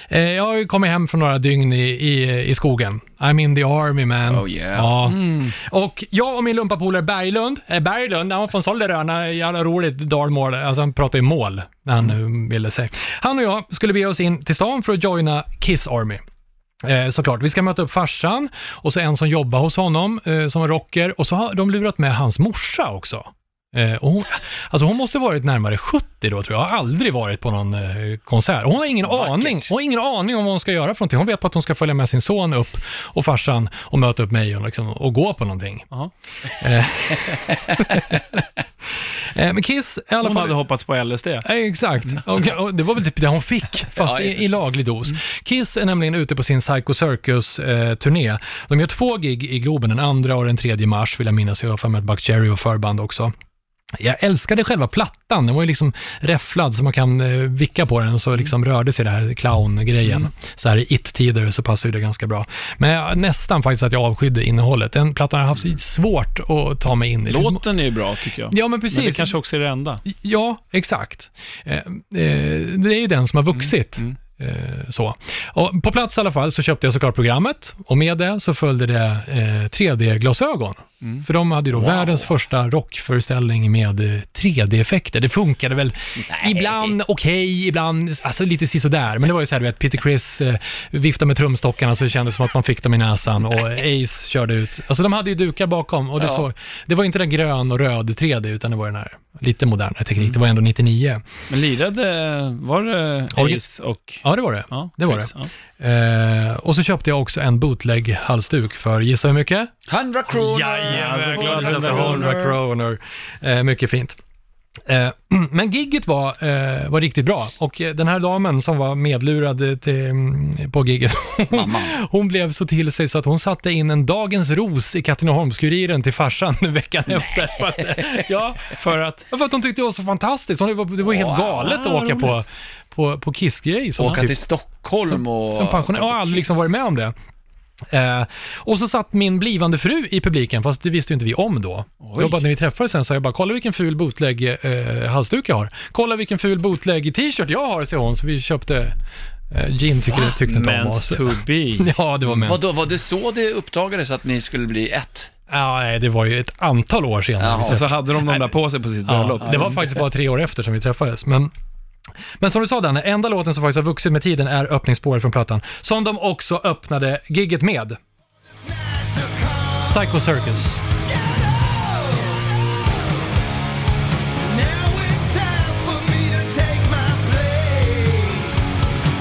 S3: Eh, Jag har ju kommit hem från några dygn i, i, i skogen. I'm in the army man.
S1: Oh, yeah.
S3: ja. Och jag och min lumpapolare Berglund, eh, Berglund, han var från Solleröna, jävla roligt dalmål, alltså han pratade ju mål när han
S1: Mm.
S3: eh, ville säga. Han och jag skulle bege oss in till stan för att joina Kiss Army. Eh, såklart. Vi ska möta upp farsan och så en som jobbar hos honom eh, som är rocker och så har de lurat med hans morsa också. Eh, och hon, alltså hon måste varit närmare 70 då tror jag. Jag har aldrig varit på någon eh, konsert. Och Hon har ingen aning. Hon har ingen aning om vad hon ska göra för någonting. Hon vet bara att hon ska följa med sin son upp och farsan och möta upp mig och, liksom, och gå på någonting.
S2: Ja.
S3: Eh, eh, men Kiss i alla
S2: Hon
S3: fall.
S2: hade hoppats på LSD.
S3: Ja, Exakt. Och, och det var väl typ det hon fick, fast
S1: Mm. Ja, i och för Mm.
S3: i, i laglig dos. Kiss är nämligen ute på sin Psycho Circus-turné. De gör två gig i Globen, den andra och den tredje mars, vill jag minnas. Jag har för mig att Buck Cherry var förband också. Jag älskade själva plattan. Den var ju liksom räfflad så man kan eh, vicka på den så liksom
S1: Mm.
S3: rörde sig den här clowngrejen. Så här i it-tider så passar ju det ganska bra. Men jag, nästan faktiskt att jag avskydde innehållet. Den plattan har jag haft
S1: Mm.
S3: så svårt att ta mig in i.
S2: Låten är ju bra tycker jag.
S3: Ja, men precis.
S2: Men det kanske också är det enda.
S3: Ja, exakt. Eh, eh, det är ju den som har vuxit. Eh, så. Och på plats i alla fall så köpte jag såklart programmet och med det så följde det eh, 3D-glasögon. För de hade ju då världens första rockföreställning med eh, 3D-effekter. Det funkade väl ibland okej, ibland alltså lite sisådär. Men det var ju så här, du vet, Peter Criss eh, viftade med trumstockarna så det kändes som att man fick dem i näsan och Ace körde ut. Alltså de hade ju dukar bakom och det,
S1: Ja.
S3: såg, det var inte den grön och röd 3D utan det var den här lite modernare teknik. Det var ändå 99.
S2: Men lirade, var det
S3: Orgi-
S2: Ace och...
S3: Ja, det var det.
S2: Ja,
S3: det var
S2: Chris,
S3: det.
S2: ja.
S3: Eh, och så köpte jag också en bootleg-halsduk för, gissa hur mycket?
S1: 100 kronor!
S3: alltså,
S2: Jajamän, klart att det
S1: 100
S2: var
S3: 100
S1: kronor.
S3: kronor. Eh, mycket fint. Eh, Men gigget var, eh, var riktigt bra och eh, den här damen som var medlurad eh, till, mm, på gigget,
S1: Mamma.
S3: hon blev så till sig så att hon satte in en dagens ros i Katrineholms-Kuriren till farsan veckan efter. För att, ja, för att, för att hon tyckte det var så fantastiskt. Hon, det var, det var helt
S1: Wow,
S3: galet att åka på, på, på Kiss-grej. som
S1: Åka
S3: typ-
S1: till Stockholm och...
S3: som pensionär. Jag har aldrig liksom varit med om det. Eh, och så satt min blivande fru i publiken, fast det visste ju inte vi om då. Det var bara när vi träffades sen sa jag bara, kolla vilken ful bootleg eh, halsduk jag har. Kolla vilken ful bootleg t-shirt jag har, säger hon. Så vi köpte, eh, Jean tyckte, tyckte inte om oss.
S2: Meant to be.
S3: Ja, det var ment.
S1: Vadå, var det så det uppdagades att ni skulle bli ett?
S3: Ja, nej, det var ju ett antal år senare.
S1: Jaha.
S3: Så
S1: Och
S2: Så hade de de där på sig på sitt bröllop.
S3: Ja, det var faktiskt bara tre år efter som vi träffades. Men, men som du sa Danne, enda låten som faktiskt har vuxit med tiden är öppningsspåret från plattan, som de också öppnade gigget med. Psycho Circus.
S5: Now it's time for me to take my place.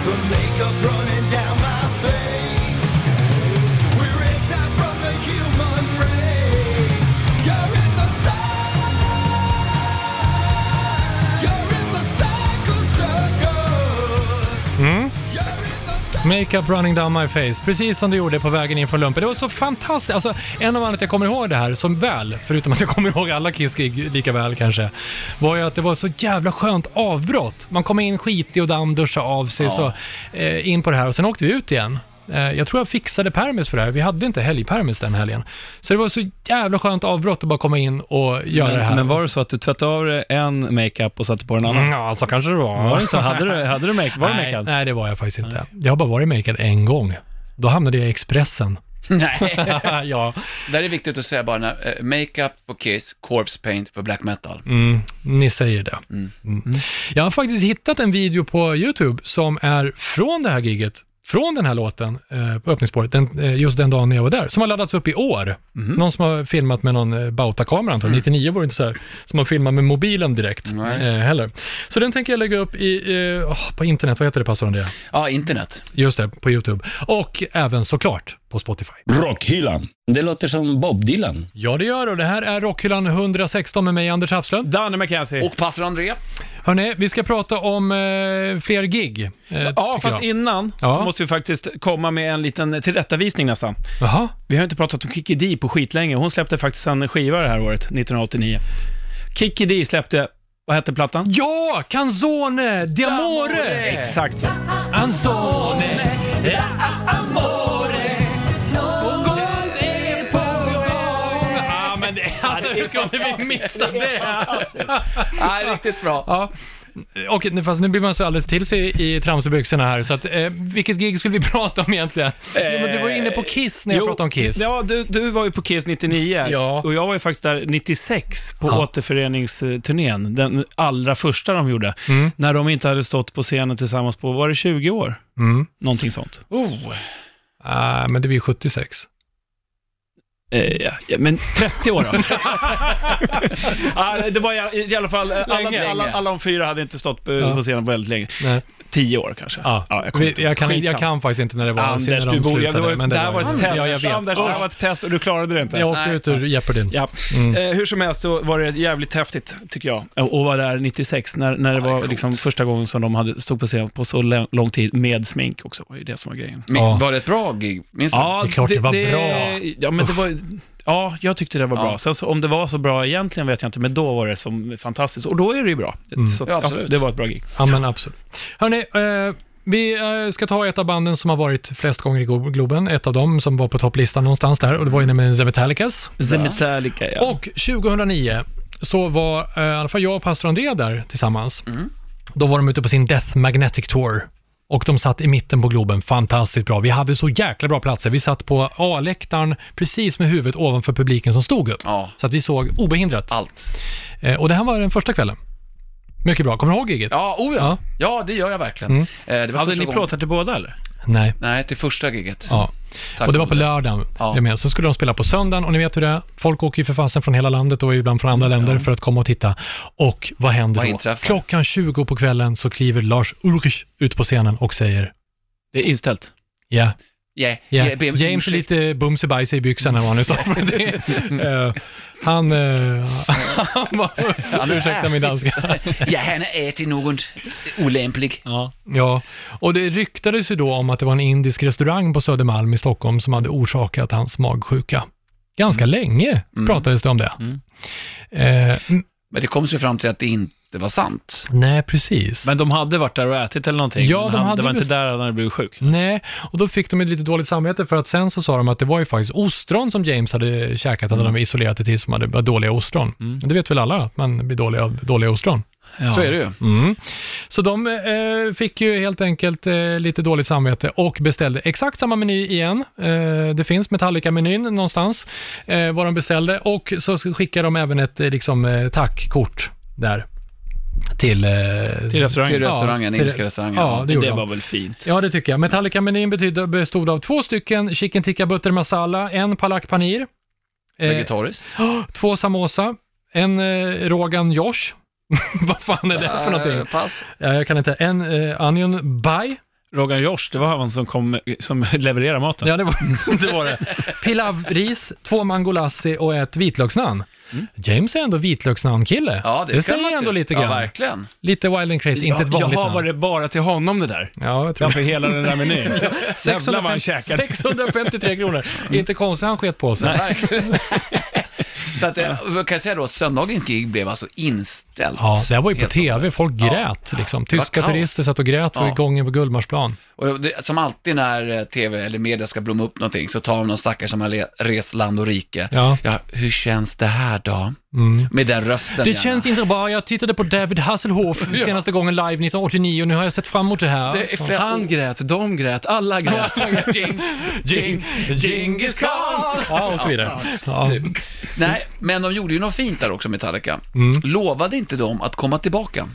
S5: The makeup running down my face. We're exiled from the human race. You're in the cycle. You're in the cycle circus. You're in the
S3: Makeup running down my face, precis som du gjorde på vägen in från lumpen. Det var så fantastiskt. Alltså, en av anledningarna till att jag kommer ihåg det här, som väl, förutom att jag kommer ihåg alla Kiss-gig lika väl kanske, var ju att det var så jävla skönt avbrott. Man kom in skitig och damm, duscha av sig,
S1: Ja.
S3: så eh, in på det här och sen åkte vi ut igen. Eh, jag tror jag fixade permis för det här. Vi hade inte helgpermis den helgen. Så det var så jävla skönt avbrott att bara komma in och göra det här.
S2: Men, men var det så att du tvättade av dig en makeup och satte på en annan?
S3: Mm, Ja, så kanske det var.
S2: Var det så? Hade du, hade du make, var du
S3: nej,
S2: makead?
S3: nej, det var jag faktiskt inte. Jag har bara varit makead en gång. Då hamnade jag i Expressen.
S1: Nej.
S3: ja.
S1: Där är det viktigt att säga bara, när, eh, makeup på Kiss, corpse paint för black metal.
S3: Mm, ni säger det. Mm. Jag har faktiskt hittat en video på YouTube som är från det här giget, från den här låten eh, på öppningsspåret, den, eh, just den dagen när jag var där, som har laddats upp i år. Någon som har filmat med någon eh, Bauta-kamera antagligen, 99 var det inte så här, som har filmat med mobilen direkt
S1: Nej.
S3: eh, heller. Så den tänker jag lägga upp i, eh, åh, på internet, vad heter det pastorn det?
S1: Ja, internet.
S3: Just det, på YouTube. Och även såklart på Spotify.
S4: Rockhyllan. Det låter som Bob Dylan.
S3: Ja, det gör det. Det här är Rockhyllan 116 med mig, Anders Hafslund.
S2: Danne McKenzie.
S1: Och pastor André.
S3: Hörni, vi ska prata om eh, fler gig. eh,
S2: Ja,
S3: tycker
S2: fast
S3: jag.
S2: innan
S3: Ja.
S2: så måste vi faktiskt komma med en liten tillrättavisning nästan.
S3: Jaha,
S2: Vi har inte pratat om Kikki Dee på skitlänge. Hon släppte faktiskt en skiva det här året, 1989. Kikki Dee släppte, vad hette plattan?
S3: Ja, Canzone d'amore!
S2: Exakt så.
S3: Canzone d'amore! Alltså hur kunde vi missa det?
S1: Nej, riktigt bra.
S3: Ja. Okej, nu- fast nu blir man så alldeles till sig i, i tramsebyxorna här, så att, eh, vilket gig skulle vi prata om egentligen? Jo, men du var ju inne på Kiss när jag
S2: Jo,
S3: pratade om Kiss.
S2: Ja, du, du var ju på Kiss 99
S3: Ja.
S2: och jag var ju faktiskt där 96 på
S3: Ja.
S2: återföreningsturnén, den allra första de gjorde, när de inte hade stått på scenen tillsammans på, var det 20 år?
S3: Mm.
S2: Någonting sånt.
S1: Oh,
S3: Ah, men det blir 76.
S2: Eh, ja, ja, men 30 år då? ah, det var i, i alla fall, eh, alla,
S1: Länge.
S2: alla, alla de fyra hade inte stått på,
S3: Ja.
S2: på scenen väldigt länge.
S3: Nej.
S2: 10 år kanske.
S3: Ja.
S2: jag kommer
S3: Vi,
S2: inte ihåg.
S3: jag, kan, jag
S2: Skitsamma.
S3: kan faktiskt inte när det var
S2: Anders,
S3: när de
S2: du borde, jag, det
S3: slutade,
S2: var,
S3: men
S2: det här var ett
S3: ju-
S2: test.
S3: Ja, jag vet.
S2: Anders, det här var ett test och du klarade det inte.
S3: Jag åkte
S1: Nej.
S3: ut ur Jeopardyn.
S2: Ja.
S3: Mm.
S2: Eh, hur som helst så var det jävligt häftigt, tycker jag, att vara där 96, när, när
S1: det
S2: det
S1: är
S2: var
S1: coolt.
S2: liksom första gången som de hade, stod på scen på så lä- lång tid, med smink också, var ju det som var grejen.
S1: men
S3: Ja.
S1: Var det ett bra gig? Minns du?
S3: det är klart det var bra.
S2: Ja, men det var, ja, jag tyckte det var
S1: Ja.
S2: bra. Sen så, om det var så bra egentligen vet jag inte, men då var det som fantastiskt. Och då är det ju bra.
S3: Mm.
S2: Så, att,
S1: Ja,
S2: ja,
S1: absolut.
S2: det var ett bra gig.
S3: Ja, men absolut. Hörni, eh, vi eh, ska ta ett av banden som har varit flest gånger i Glo- Globen. Ett av dem som var på topplistan någonstans där och det var ju nämligen The Metallicas.
S2: The Metallica, ja.
S3: Och 2009 så var eh, i alla fall jag och pastor André där tillsammans.
S1: Mm.
S3: Då var de ute på sin Death Magnetic Tour. Och de satt i mitten på Globen, fantastiskt bra. Vi hade så jäkla bra platser. Vi satt på A-läktaren precis med huvudet ovanför publiken som stod upp.
S1: Ja.
S3: Så att vi såg obehindrat.
S1: Allt.
S3: Eh, och det här var den första kvällen. Mycket bra. Kommer du ihåg giget?
S1: Ja, oh ja.
S3: Ja. Mm.
S1: Ja, det gör jag verkligen. Eh, det var
S2: Hade
S1: första
S2: ni
S1: gången.
S2: plåtar till båda eller?
S3: Nej.
S1: Nej, till första giget.
S3: Ja.
S1: Tack
S3: och det var på
S1: Olle.
S3: lördagen.
S1: Ja.
S3: det Med. Så skulle de spela på söndagen och ni vet hur det är. Folk åker ju för fasen från hela landet och ibland från andra länder för att komma och titta. Och vad händer
S1: Mm, Vad
S3: då?
S1: inträffar?
S3: Klockan 20 på kvällen så kliver Lars Ulrich ut på scenen och säger
S2: Det är inställt.
S3: Ja,
S1: Yeah,
S3: ja.
S1: yeah, be om
S3: James är
S1: ursäkt.
S3: lite bums i bajs i byxorna var han nu sa. Eh, han, eh, han var,
S1: Han är
S3: ursäkta min danska.
S1: Ja, han är till något olämplig.
S3: Ja. ja, och det ryktades ju då om att det var en indisk restaurang på Södermalm i Stockholm som hade orsakat hans magsjuka. Ganska länge pratades det om det. Eh, m-
S1: Men det kom sig fram till att det inte var sant.
S3: nej, precis.
S2: Men de hade varit där och ätit eller någonting?
S3: Ja,
S2: men
S3: de
S2: han,
S3: hade
S2: det var
S3: ju
S2: inte där han hade blivit sjuk.
S3: Nej, och då fick de ett lite dåligt samvete för att sen så sa de att det var ju faktiskt ostron som James hade käkat, hade de isolerat det till som hade var dåliga ostron. Det vet väl alla, att man blir dålig av dåliga ostron.
S1: Så är det ju.
S3: Mm. Så de eh, fick ju helt enkelt eh, lite dåligt samvete och beställde exakt samma meny igen. Eh, det finns Metallica-menyn någonstans, eh, vad de beställde. Och så skickade de även ett eh, liksom, eh, tackkort där till, eh,
S2: Till restaurangen.
S1: Till restaurangen,
S3: till-
S1: indiska restaurangen.
S3: Ja, det gjorde
S2: det
S3: de.
S2: var väl fint.
S3: Ja, det tycker jag. Metallica-menyn betydde- bestod av två stycken chicken tikka butter masala, en palak panir, eh,
S1: Vegetariskt.
S3: två samosa, en eh, Rogan Josh. Vad fan är det för någonting?
S1: Eh, Pass.
S3: Ja, jag kan inte. En eh, onion pie.
S2: Rogan Josh, det var han som, kom, som levererade maten.
S3: Ja, det var det. Var det. Pilavris, två mangolassi och ett vitlöksnaan. James är ändå vitlöksnamnkille.
S1: Mm. Ja, det,
S3: det
S1: kan
S3: säger
S1: man
S3: ändå
S1: inte-
S3: lite
S1: Ja,
S3: grann.
S1: verkligen.
S3: lite wild and crazy, inte ett vanligt
S2: Jaha,
S3: namn.
S2: var det bara till honom det där?
S3: Ja, jag tror
S2: Framför hela den där menyn? Jävlar vad
S3: 650,
S2: han käkade.
S3: 653 kronor.
S1: Mm.
S3: Inte konstigt han sket på sig.
S1: Verkligen. Så att, eh, vad kan jag säga då, söndagens gig blev alltså inställt.
S3: Ja, det här var ju på
S1: Helt
S3: tv. Folk
S1: Ja.
S3: grät liksom.
S1: var
S3: Tyska
S1: kaos.
S3: turister satt och grät ja.
S1: Ja.
S3: gången på Gullmarsplan.
S1: Och det, som alltid när eh, tv eller media ska blomma upp någonting så tar de någon stackare som har le- rest land och rike.
S3: Ja. Mm.
S1: hur känns det här då? Med den rösten
S3: Det
S1: gärna.
S3: känns inte bra. Jag tittade på David Hasselhoff senaste gången live 1989 och nu har jag sett fram emot det här.
S1: Det är flera
S2: Han grät, de grät, alla grät.
S1: Jing, jing, Genghis Khan! typ.
S3: Ja, och så vidare. Ja.
S1: Nej, men de gjorde ju något fint där också, Metallica.
S3: Mm.
S1: Lovade inte de att komma tillbaka?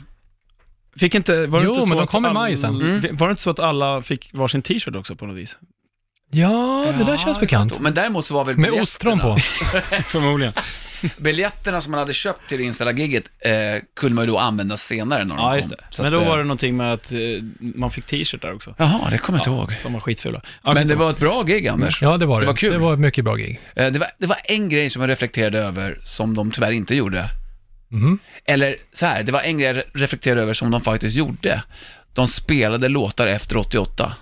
S2: Fick inte, var det
S3: Jo,
S2: inte så
S3: men de
S2: att
S3: kom i
S2: all- Mm.
S3: maj sen.
S2: Var det inte så att alla fick varsin t-shirt också på något vis?
S3: ja, det där känns bekant.
S1: Men däremot så var väl
S3: Med
S1: biljetterna-
S3: ostron på.
S2: Förmodligen.
S1: Biljetterna som man hade köpt till det inställda giget eh, kunde man ju då använda senare när de
S2: Ja,
S1: kom.
S2: just det.
S1: Så
S2: men
S1: att,
S2: då
S1: eh,
S2: var det någonting med att eh, man fick t-shirt där också.
S1: Jaha, det kommer jag inte ihåg.
S2: Som var skitfula.
S1: Men det var ett bra gig, Anders.
S3: Ja, det var det.
S1: Det var kul.
S3: Det var ett mycket bra gig.
S1: Eh, Det var, det var en grej som jag reflekterade över som de tyvärr inte gjorde.
S3: Mhm.
S1: Eller så här, det var en grej jag re- reflekterade över som de faktiskt gjorde. De spelade låtar efter 88.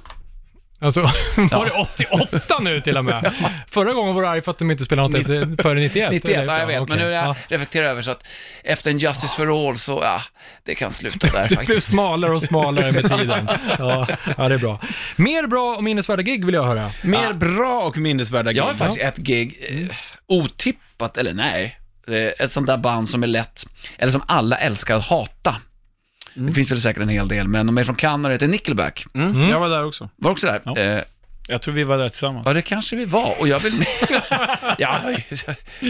S3: Alltså, var det 88 nu till och med? Förra gången var du arg för att de inte spelade något efter, före 91.
S1: 91, ja, jag vet, men nu är
S3: okej.
S1: jag
S3: Ja.
S1: reflekterar över så att efter en Justice for All så, ja, det kan sluta där
S3: Du blir
S1: faktiskt.
S3: smalare och smalare med tiden. Ja, ja, det är bra. Mer bra och minnesvärda gig vill jag höra.
S2: Mer bra och minnesvärda
S1: Jag har
S2: grejer.
S1: faktiskt ett gig, eh, otippat, eller nej, eh, ett sånt där band som är lätt, eller som alla älskar att hata. Det finns väl säkert en hel del, men de är från Kanada och heter Nickelback.
S2: Mm. Jag var där också.
S1: Var också där. Eh,
S2: Jag tror vi var där tillsammans.
S1: Ja, det kanske vi var. Och jag vill... ja,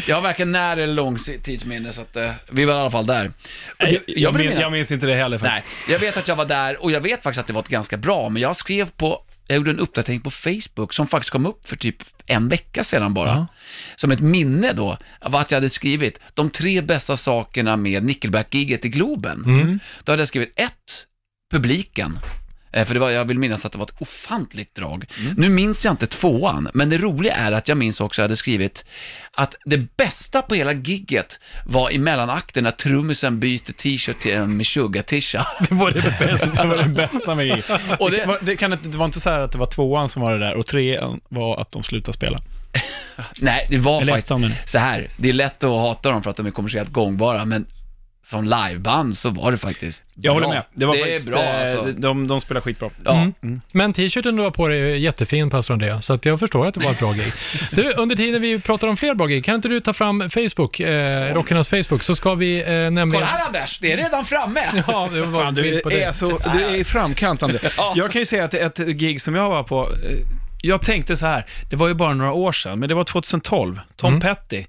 S1: jag har varken när eller långtidsminne, så att eh, vi var i alla fall där. Och det, jag,
S2: jag,
S1: vill
S2: minns,
S1: minna,
S2: jag minns inte det heller
S1: nej,
S2: faktiskt.
S1: jag vet att jag var där och jag vet faktiskt att det var ett ganska bra, men jag skrev på jag gjorde en uppdatering på Facebook som faktiskt kom upp för typ en vecka sedan bara. Som ett minne då av att jag hade skrivit de tre bästa sakerna med Nickelback-giget i Globen. Då hade jag skrivit ett, publiken. Eh, För det var, jag vill minnas att det var ett ofantligt drag.
S2: Mm.
S1: Nu minns jag inte tvåan, men det roliga är att jag minns också att jag hade skrivit att det bästa på hela gigget var i mellanakten när trummisen byter t-shirt till en Meshuggah-tisha.
S2: Det var det bästa, det var det bästa med giget.
S1: Och
S2: det,
S1: det-
S2: var- det, kan, inte- det var inte så här att det var tvåan som var det där och trean var att de slutade spela.
S1: Nej, det var
S2: Eller
S1: faktiskt
S2: ettan menar
S1: så här. Det är lätt att hata dem för att de är kommersiellt gångbara, men som liveband så var det faktiskt
S2: Jag håller
S1: bra.
S2: med. Det var
S1: det
S2: faktiskt,
S1: är bra
S2: eh,
S1: alltså.
S2: de, de spelar skitbra.
S1: Ja.
S3: Men t-shirten du har på dig är jättefin, pastor Andrea, så att jag förstår att det var ett bra gig. Du, under tiden vi pratar om fler bra gig, kan inte du ta fram Facebook, eh, rockarnas Facebook, så ska vi eh, nämligen...
S1: Kolla här Anders, det är redan framme!
S3: Ja, det var
S2: Fan,
S3: en bild
S2: du
S3: på
S2: är
S3: det.
S2: så, du är i framkant André. Jag kan ju säga att ett gig som jag var på, eh, jag tänkte så här, det var ju bara några år sedan, men det var 2012. Tom Petty,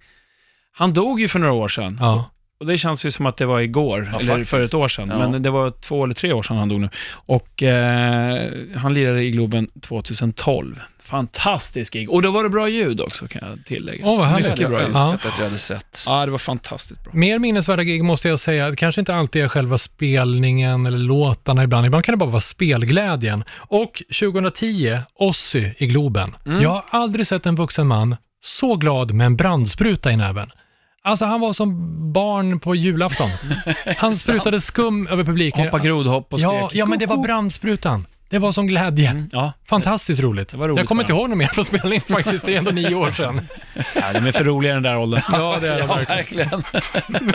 S2: han dog ju för några år sedan.
S3: Ja.
S2: Och det känns ju som att det var igår,
S1: Ja,
S2: eller
S1: faktiskt.
S2: för ett år sedan.
S1: Ja.
S2: Men det var två eller tre år sedan han dog nu. Och eh, han lirade i Globen 2012. Fantastisk gig. Och då var det bra ljud också, kan jag tillägga.
S3: Åh, vad härligt.
S2: Mycket bra
S1: jag
S2: ljud.
S3: Ja.
S1: önskat att jag hade sett.
S2: Ja, det var fantastiskt bra.
S3: Mer minnesvärda gig måste jag säga, det kanske inte alltid är själva spelningen eller låtarna ibland. Ibland kan det bara vara spelglädjen. Och 2010, Ozzy i Globen.
S2: Mm.
S3: Jag har aldrig sett en vuxen man så glad med en brandspruta i näven. Alltså han var som barn på julafton. Han sprutade skum över publiken.
S2: Hoppa grodhopp och skrek.
S3: ja, ja, men det var brandsprutan. Det var som glädje.
S2: Ja,
S3: Fantastiskt roligt.
S2: var roligt
S3: jag kommer
S2: för
S3: inte ihåg något mer från spelningen faktiskt, det är ändå nio år sedan.
S2: ja, de är för roliga i den där åldern.
S3: Ja, det är det
S1: Ja,
S3: verkligen.
S1: verkligen.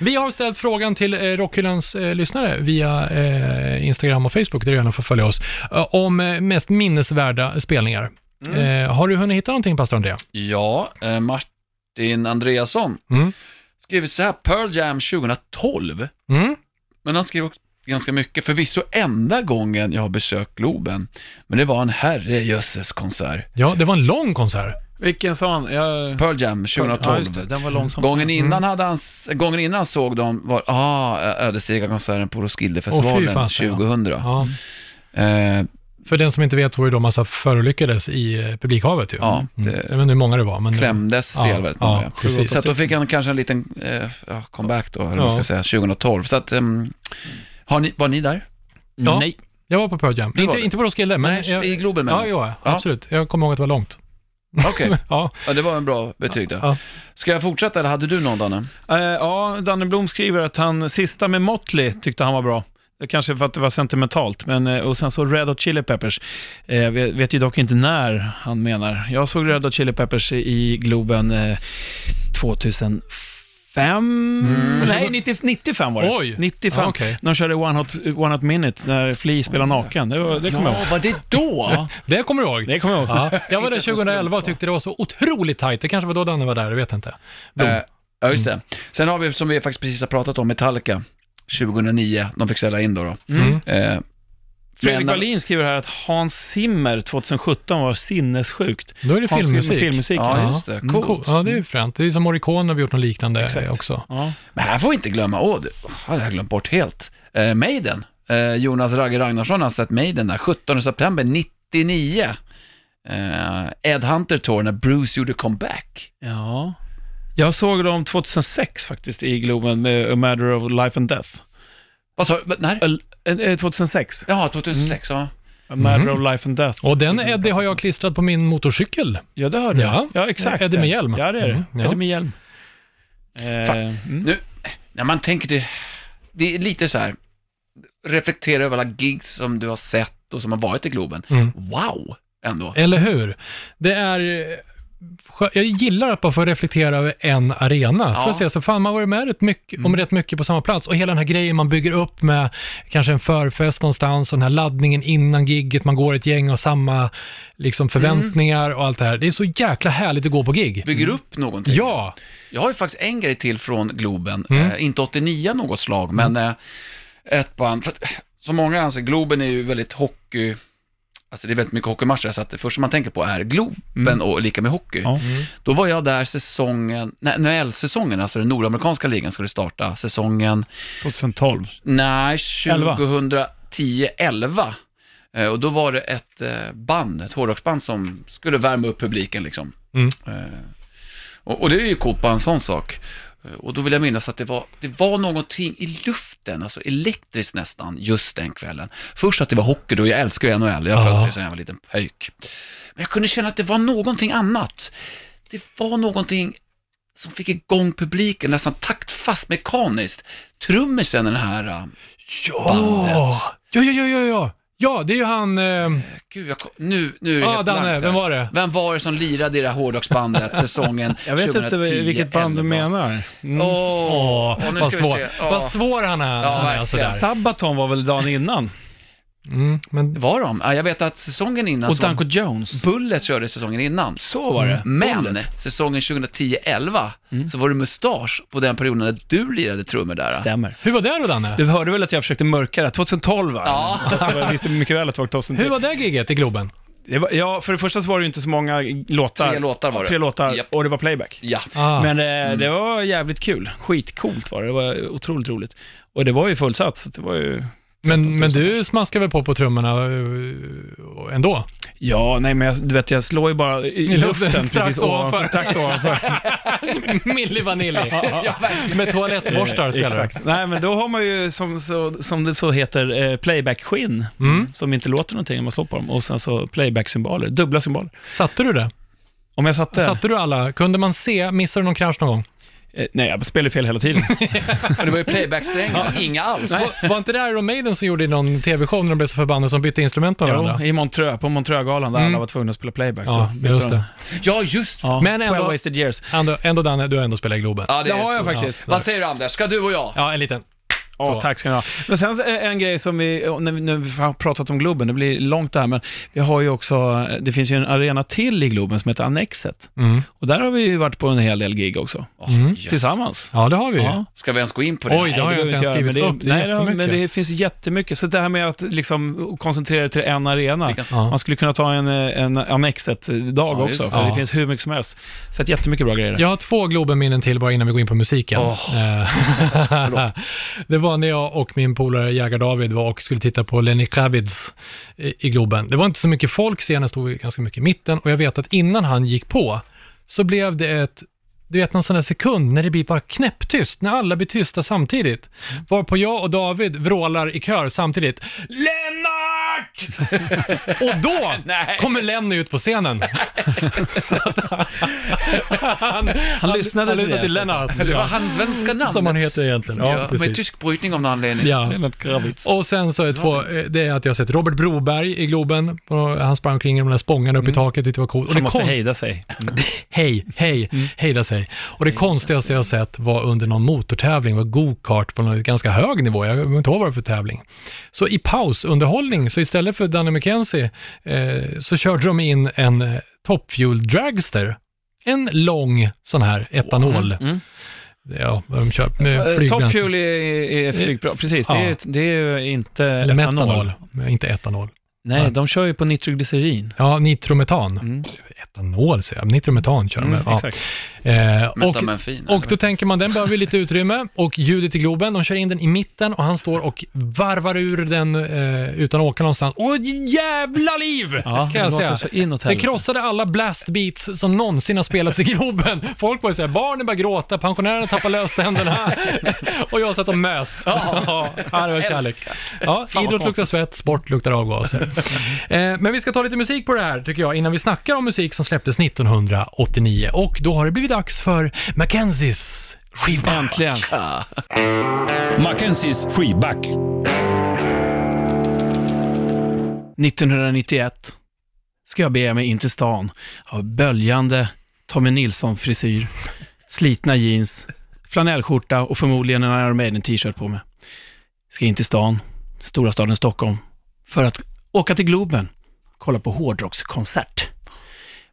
S3: Vi har ställt frågan till eh, Rockhyllans eh, lyssnare via eh, Instagram och Facebook, där du gärna får följa oss, eh, om eh, mest minnesvärda spelningar.
S1: Mm.
S3: Eh, har du hunnit hitta någonting, pastor Andrea?
S1: Ja, eh, Martin Andreasson
S3: Mm.
S1: skrivit så här, Pearl Jam 2012.
S3: Mm.
S1: Men han skrev också ganska mycket, förvisso enda gången jag har besökt Globen. Men det var en herrejösses konsert.
S3: Ja, det var en lång konsert.
S2: Vilken sa han? Jag...
S1: Pearl Jam
S2: Ja,
S1: 2012.
S2: just det. Den var lång som
S1: Gången
S3: Mm.
S1: innan, hade han, s- gången innan han såg dem var, ah, Ödesdigra-konserten på
S3: Åh, fy
S1: Roskildefestivalen
S3: fan, ja.
S1: 2000.
S3: Ja.
S1: Eh,
S3: För den som inte vet var ju då massa förolyckades i eh, publikhavet ju.
S1: Ja,
S3: mm.
S1: det-
S3: Jag vet inte hur många det var, men...
S1: klämdes
S3: Ja,
S1: ihjäl väldigt
S3: ja,
S1: många.
S3: precis.
S1: så att då fick han kanske en liten eh, ja, comeback då, eller vad
S3: Ja.
S1: man ska säga, 2012. Så att, ehm, har ni, var ni där?
S3: Ja,
S2: Nej.
S3: Jag var på Pearl Jam.
S1: var
S3: Inte,
S1: det.
S3: inte på Roskilde, men...
S1: Nej, i Globen menar
S3: Ja,
S1: jag.
S3: ja,
S1: Ja.
S3: absolut. Jag kommer ihåg att det var långt.
S1: Okej,
S3: Ja.
S1: ja, det var en bra betyg där.
S3: Ja.
S1: Ska jag fortsätta eller hade du någon Danne?
S2: Eh, ja, Danne Blom skriver att han sista med Motley tyckte han var bra. Det Kanske för att det var sentimentalt, men eh, och sen så Red Hot Chili Peppers. Eh, vet, vet ju dock inte när han menar. Jag såg Red Hot Chili Peppers i Globen eh, 2005? Nej, 90, 95 var det.
S3: Mm. Oj.
S2: 95.
S3: Ah, okej.
S2: De körde One Hot, One Hot Minute när Flea spelade naken. Det, var- det kommer jag ihåg.
S1: var det då?
S3: Det kommer du ihåg?
S2: Det kommer jag ihåg.
S3: Ja, jag var där
S1: Inte
S3: 2011 och tyckte det var så otroligt tajt. Det kanske var då Danne var där, jag vet inte.
S1: Eh, Ja, just det. Sen har vi, som vi faktiskt precis har pratat om, Metallica 2009. De fick ställa in då. då.
S3: Mm.
S1: Eh, men-
S2: Fredrik Wallin skriver här att Hans Zimmer 2017 var sinnessjukt.
S3: Då är det
S2: Hans Zimmer,
S3: filmmusik.
S2: filmmusiken.
S1: Ja,
S3: Ja.
S1: just det.
S3: Mm,
S1: Coolt.
S3: cool. Ja, det är ju fränt. Det är ju som Morricone har gjort något liknande också.
S2: Ja.
S1: Men här får vi inte glömma, åh, det hade jag glömt bort helt. Eh, Maiden, eh, Jonas Ragge Ragnarsson har sett Maiden där, 17 september 99. Eh, Ed Hunter Tour när Bruce gjorde comeback.
S2: Ja. Jag såg dem 2006 faktiskt i Globen med A Matter of Life and Death.
S1: Vad sa du? När?
S2: El, eh, 2006.
S1: Jaha, 2006, ja.
S2: A Matter of Life and Death.
S3: Mhm. Och den Eddie har jag klistrat på min motorcykel.
S2: Ja, det hörde
S3: Ja.
S2: jag. Ja, exakt.
S3: Eddie med hjälm.
S2: Ja, det är det.
S3: Mm, ja.
S2: Eddie med hjälm. Eh,
S1: Fuck.
S2: mm.
S1: Nu, när man tänker det, det är lite så här, reflektera över alla gigs som du har sett och som har varit i Globen.
S3: Mm.
S1: Wow, ändå.
S3: Eller hur? Det är... eh, skö- Jag gillar att man får reflektera över en arena. För
S1: Ja. Mm.
S3: att se, så fan, man har varit med rätt mycket, om rätt mycket på samma plats. Och hela den här grejen man bygger upp med kanske en förfest någonstans och den här laddningen innan gigget man går ett gäng och samma liksom, förväntningar
S1: Mm.
S3: och allt det här. Det är så jäkla härligt att gå på gig.
S1: Bygger upp någonting.
S3: Ja,
S1: Jag har ju faktiskt en grej till från Globen,
S3: Mm.
S1: eh, inte 89 något slag, men eh, ett band. För att, eh, som många anser, Globen är ju väldigt hockey, alltså det är väldigt mycket hockeymatcher, så att det första man tänker på är Globen och lika med hockey.
S2: Ja.
S1: Då var jag där säsongen, nej, NHL-säsongen, alltså den nordamerikanska ligan skulle starta, säsongen,
S2: 2012.
S1: nej,
S2: Elva.
S1: 2010-11. Eh, Och då var det ett eh, band, ett hårdrocksband som skulle värma upp publiken liksom.
S3: Mm.
S1: Eh, Och, och det är ju coolt bara en sån sak. Eh, Och då vill jag minnas att det var, det var någonting i luften, alltså elektriskt nästan, just den kvällen. Först att det var hockey då, jag älskar ju NHL, jag
S3: Ja.
S1: har följt det sedan jag var en liten pöjk. Men jag kunde känna att det var någonting annat. Det var någonting som fick igång publiken nästan taktfast mekaniskt. Trummisen, den här... eh, Bandet.
S3: Ja, ja, ja, ja, ja. Ja, det är ju han... Eh,
S1: Gud, jag kom, nu, nu är det
S3: ja,
S1: helt
S3: Danne,
S1: blankt här.
S3: vem var det?
S1: Vem var det som lirade i det här hårdrocksbandet säsongen 2010
S2: Jag vet inte vilket band du
S1: 11?
S2: menar. Mm.
S1: Åh,
S3: Åh,
S1: åh, nu
S3: vad,
S1: ska vi
S3: svår.
S1: se.
S3: vad
S1: Ja.
S3: svår han är.
S1: Ja,
S3: han är
S1: verkligen.
S3: sådär.
S2: Sabaton var väl dagen innan?
S3: Mm, men
S1: Var de? Ja, Jag vet att säsongen innan
S2: Och
S1: så var
S2: Danko Jones.
S1: Bullet körde säsongen innan.
S2: Så var Mm. det.
S1: Mm. Men säsongen 2010-11 så var det mustasch på den perioden när du lirade trummor där.
S2: Stämmer.
S3: hur var det då, Danne?
S2: Du hörde väl att jag försökte mörka det? 2012 va?
S1: Ja.
S2: Fast det var- Jag visste mycket väl att det var 2012.
S3: Hur var det giget i Globen?
S2: Det var, ja, för det första så var det ju inte så många låtar.
S1: Tre låtar var det.
S2: Tre låtar,
S1: Japp. Mm.
S2: och det var playback.
S1: Ja.
S3: Ah,
S2: Men eh, det var jävligt kul. Skitcoolt var det. Det var otroligt roligt. Och det var ju fullsatt, så det var ju...
S3: men, men du smaskar väl på på trummorna eh, ändå?
S2: Ja, nej men jag, du vet, jag slår ju bara i, i
S3: luften,
S2: luften
S3: strax
S2: precis ovanför.
S3: ovanför.
S2: Strax ovanför.
S3: Milli Vanilli. Med toalettborstar spelar du.
S2: Eh, Exakt. Nej, men då har man ju, som, så, som det så heter, eh, playback-skinn.
S3: Mm.
S2: Som inte låter någonting när man slår på dem. Och sen så playback-symboler, dubbla symboler.
S3: Satte du det?
S2: Om jag satte...
S3: Satte du alla? Kunde man se? Missade du någon krasch någon gång?
S2: Eh, nej, jag spelar ju fel hela tiden.
S1: Men det var ju playbacksträngar, inga alls.
S3: Var, var inte det Iron Maiden som gjorde någon tv-show när de blev så förbannade som bytte instrument med varandra?
S2: Jo, i Montreux, på Montreux-galan där
S3: Mm.
S2: alla var tvungna att spela playback.
S3: Ja,
S2: då.
S3: just det.
S1: Ja, just
S2: Ja,
S3: Men
S2: 12
S3: ändå-
S2: wasted years.
S3: Ändå, ändå Danne, du har ändå spelat i Globen.
S1: ja,
S2: Det
S1: är
S2: har jag
S1: stort.
S2: faktiskt.
S1: Vad säger du Anders, ska du och jag?
S3: Ja, en liten.
S2: Ja,
S3: Så.
S2: tack ska ni ha. Men sen eh, en grej som vi, eh, när vi, när vi har pratat om Globen, det blir långt där, men vi har ju också, eh, det finns ju en arena till i Globen som heter Annexet.
S3: Mm.
S2: Och där har vi ju varit på en hel del gig också,
S1: Åh,
S3: Mm.
S1: just.
S2: tillsammans.
S3: Ja, det har vi ju.
S2: Ja.
S1: Ska vi ens gå in på det?
S3: Oj, det har jag
S2: behöver
S3: inte ens
S2: göra,
S3: skrivit
S2: men det,
S3: upp. Det är
S2: nej, det har- men
S3: jättemycket.
S2: det finns jättemycket. Så det här med att liksom koncentrera till en arena,
S1: Vi kan-
S3: Ja.
S2: man skulle kunna ta en, eh, en Annexet-dag
S1: Ja, just
S2: också,
S1: det.
S2: för
S3: Ja.
S2: det finns hur mycket som helst. Så att jättemycket bra grejer där.
S3: Jag har två Globenminnen till bara innan vi går in på musiken.
S1: Åh.
S3: Eh, det var när jag och min polare Jägar David var och skulle titta på Lenny Kravitz i i Globen. Det var inte så mycket folk, scenen stod ju ganska mycket i mitten och jag vet att innan han gick på så blev det ett du vet någon sån där sekund när det blir bara knäpptyst, när alla blir
S7: Mm.
S3: tysta samtidigt. Varpå jag och David vrålar i kör samtidigt. Lennart!
S2: svart!
S3: Och då
S2: Nej.
S3: kommer Lenny ut på scenen. Så att han, han, han
S7: lyssnade
S3: han
S7: till det,
S3: lyssnade till
S7: så att säga.
S3: Lennart.
S1: Det var
S3: Ja.
S1: hans svenska namn.
S3: Som han heter egentligen. Ja,
S1: Ja, med
S3: precis.
S1: tysk brytning av någon anledning.
S3: Ja.
S2: Lennart Kravitz.
S3: Och sen så är två, eh, det är att jag har sett Robert Broberg i Globen. Och han sprang omkring i de där spångarna
S7: Mm.
S3: upp i taket, tyckte det var coolt. Och det
S2: Han måste
S3: konst-
S2: hejda sig.
S3: Hej, hej,
S2: Mm.
S3: hejda sig. Och det konstigaste jag sett var under någon motortävling, var go-kart på någon ganska hög nivå, jag kommer inte ihåg vad det var för tävling. Så i pausunderhållning, så istället för Danny McKenzie, eh, så körde de in en eh, Top Fuel Dragster. En lång sån här etanol.
S2: Mm.
S3: Ja, vad de kör med
S2: Eh,
S3: flygbränsle.
S2: Top Fuel är, är flygplan, precis. Det, är,
S3: Ja.
S2: det är ju inte
S3: Eller
S2: etanol.
S3: metanol, men inte etanol.
S2: Nej,
S3: Nej.
S2: de kör ju på nitroglycerin.
S3: Ja, nitrometan.
S2: Mm.
S3: Etanol säger jag, nitrometan kör de.
S2: Mm,
S3: ja.
S2: Exakt.
S3: eh, och,
S1: Metamenfin.
S3: Och då tänker man, den behöver ju lite utrymme och ljudet i Globen, de kör in den i mitten och han står och varvar ur den eh, utan att åka någonstans. Åh jävla liv!
S2: Ja,
S3: kan jag
S2: det låter
S3: säga.
S2: så inåt
S3: Det
S2: helvete.
S3: krossade alla blast beats som någonsin har spelats i Globen. Folk började säga, barnen började gråta, pensionärerna tappade löständerna och jag satt och mös. Ja, det var kärlek. Ja, idrott luktar svett, sport luktar avgaser. eh, men vi ska ta lite musik på det här, tycker jag, innan vi snackar om musik som släpptes 1989. Och då har det blivit dags för Mackenzies skiva.
S2: Äntligen.
S4: Mackenzies freeback.
S2: 1991 ska jag bege mig in till stan. Har böljande Tommy Nilsson-frisyr, slitna jeans, flanellskjorta och förmodligen en Iron Maiden-t-shirt på mig. Ska in till stan, stora staden Stockholm, för att åka till Globen, kolla på hårdrockskonsert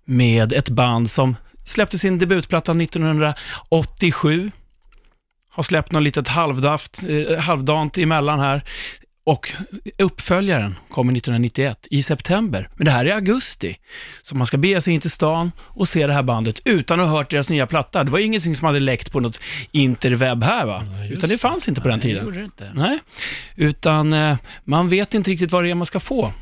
S2: med ett band som släppte sin debutplatta 1987. Har släppt något litet halvdaft, eh, halvdant emellan här. Och uppföljaren kommer 1991 i september. Men det här är augusti. Så man ska bege sig in till stan och se det här bandet utan att ha hört deras nya platta. Det var ju ingenting som hade läckt på något interweb här va? Utan det fanns inte på den
S1: Det
S2: tiden.
S1: gjorde det inte.
S2: Nej, utan eh, man vet inte riktigt vad det är man ska få.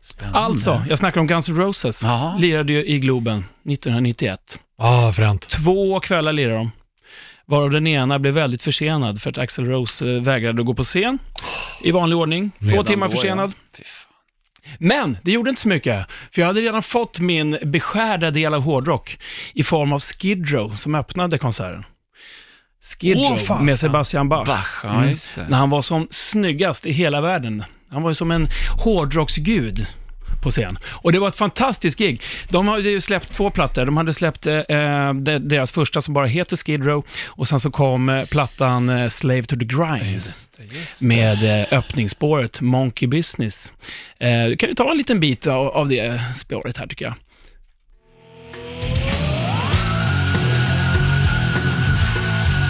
S1: Spännande.
S2: Alltså, jag snackar om Guns N' Roses.
S1: Jaha.
S2: Lirade ju i Globen 1991.
S3: Ah, fränt.
S2: Två kvällar lirade de. Varav den ena blev väldigt försenad för att Axel Rose eh, vägrade att gå på scen. I vanlig ordning. Två
S1: Redan
S2: timmar
S1: då,
S2: försenad.
S1: ja. Fy fan.
S2: Men det gjorde inte så mycket, för jag hade redan fått min beskärda del av hårdrock i form av Skid Row som öppnade konserten. Skid
S3: Åh,
S2: Row
S3: fasen.
S2: med Sebastian Bach.
S1: Bach, ja
S2: Mm.
S1: just det.
S2: När han var som snyggast i hela världen. Han var ju som en hårdrocksgud på scen. Och det var ett fantastiskt gig. De hade ju släppt två plattor. De hade släppt eh, de- deras första som bara heter Skid Row och sen så kom eh, plattan eh, Slave to the Grind med eh, öppningsspåret Monkey Business. Eh, du kan ju ta en liten bit av, av det spåret här tycker jag.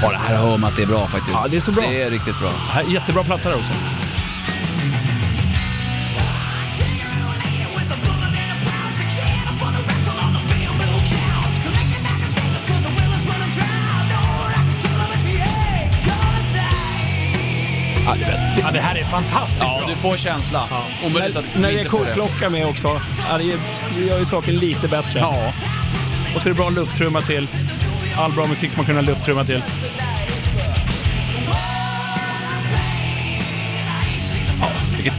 S1: Ja, det här hör man att det är bra faktiskt.
S2: Ja, det är så bra.
S1: Det är riktigt bra.
S2: Det här är Jättebra platta där också. Ja, det här är fantastiskt bra.
S1: Du får känsla. Omöjligt att
S2: När det är
S1: inte få
S2: koklocka med också, ja, det, är- det gör ju saken lite bättre. Ja. Och så är det bra lufttrumma till. All bra musik ska man kunna lufttrumma till.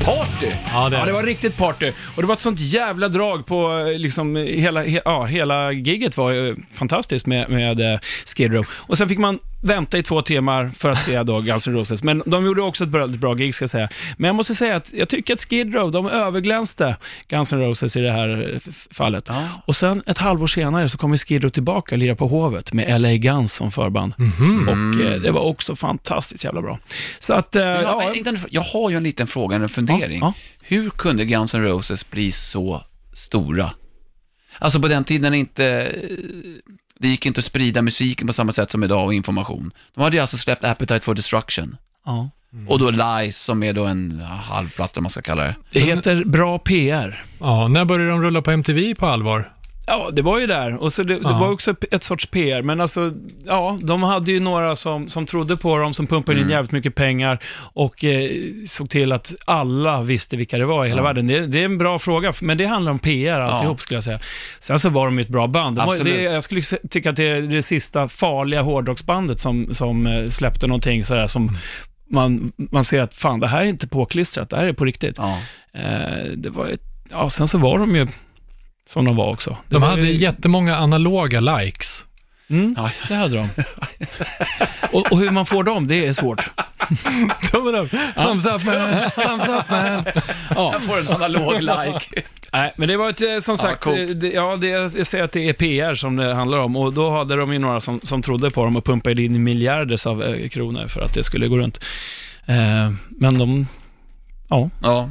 S3: Ja, det
S2: Ja,
S3: är
S2: det
S3: det.
S2: var riktigt party. Och det var ett sånt jävla drag på eh, liksom eh, hela, he, ja, hela giget var eh, fantastiskt med, med eh, Skid Row. Och sen fick man vänta i två timmar för att se då Guns N' Roses. Men de gjorde också ett väldigt bra gig ska jag säga. Men jag måste säga att jag tycker att Skid Row, de överglänste Guns N' Roses i det här eh, f- fallet. Och sen ett halvår senare så kommer Skid Row tillbaka och lirar på Hovet med LA Guns som förband. Och eh, det var också fantastiskt jävla bra. Så att, eh,
S1: Ja,
S2: ja,
S1: men inte en fr- jag har ju en liten fråga, en fundering.
S2: Ja,
S1: Hur kunde Guns N' Roses bli så stora? Alltså på den tiden inte, eh, det gick inte att sprida musiken på samma sätt som idag och information. De hade ju alltså släppt Appetite for Destruction.
S2: ja.
S1: Mm. Och då Lies som är då en ja, halvplatta om man ska kalla det.
S2: Det heter bra PR.
S3: Ja, när började de rulla på MTV på allvar?
S2: Ja, det var ju där. Och så det, det
S3: Ja.
S2: var också ett sorts PR. Men alltså, ja, de hade ju några som, som trodde på dem, som pumpade
S3: Mm.
S2: in jävligt mycket pengar och eh, såg till att alla visste vilka det var i hela världen. Det, det är en bra fråga, men det handlar om PR alltihop skulle jag säga. Sen så var de ju ett bra band. De var,
S1: Absolut.
S2: det, jag skulle se-
S3: Mm.
S2: tycka att det är det sista farliga hårdrocksbandet som, som eh, släppte någonting sådär som man, man ser att fan, det här är inte påklistrat, det här är på riktigt.
S1: Ja.
S2: Eh, det var ett, ja, sen så var de ju som de var också. Det
S3: De
S2: var
S3: hade
S2: ju,
S3: jättemånga analoga likes.
S2: mm,
S1: Ja.
S2: det hade de. och, och hur man får dem, det är svårt.
S3: Tummen upp, thumbs up man, thumbs up man.
S2: Ja.
S1: Får en analog like.
S2: Nej, men det var ett, eh, som sagt,
S1: coolt.
S2: eh, det, ja, det, jag säger att det är PR som det handlar om och då hade de ju några som, som trodde på dem och pumpade in miljarders av eh, kronor för att det skulle gå runt. Eh, men de, ja.
S1: Ja.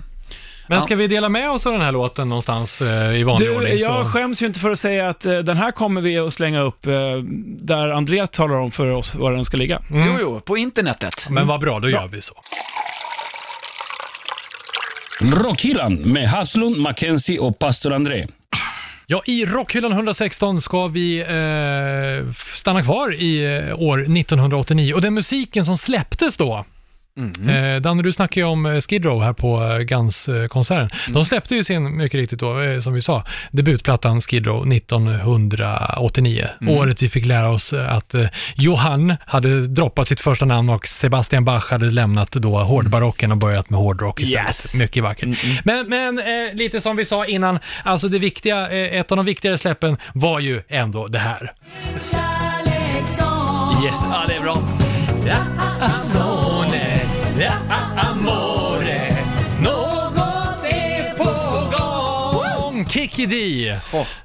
S3: Men ska vi dela med oss av den här låten någonstans eh, i vanlig
S2: Du,
S3: ordning? så-
S2: jag skäms ju inte för att säga att eh, den här kommer vi att slänga upp eh, där Andrea talar om för oss var den ska ligga.
S3: Mm.
S1: Jo, jo, på internetet.
S3: Men vad bra, då gör vi så.
S4: Rockhyland med Haslund, Mackenzie och pastor André.
S3: Ja, i Rockhyllan 116 ska vi eh, f- stanna kvar i eh, år 1989 och den musiken som släpptes då. Eh, Danne, du snackade ju om eh, Skid Row här på eh, Guns-konserten. De släppte ju sin, mycket riktigt då, eh, som vi sa, debutplattan Skid Row 1989. Året vi fick lära oss eh, att eh, Johan hade droppat sitt första namn och Sebastian Bach hade lämnat då hårdbarocken och börjat med hårdrock istället.
S2: Yes.
S3: Mycket vackert. Men, men eh, lite som vi sa innan, alltså det viktiga, eh, ett av de viktigare släppen var ju ändå det här.
S2: Yes.
S1: Ja, det är bra.
S3: Om Kikki D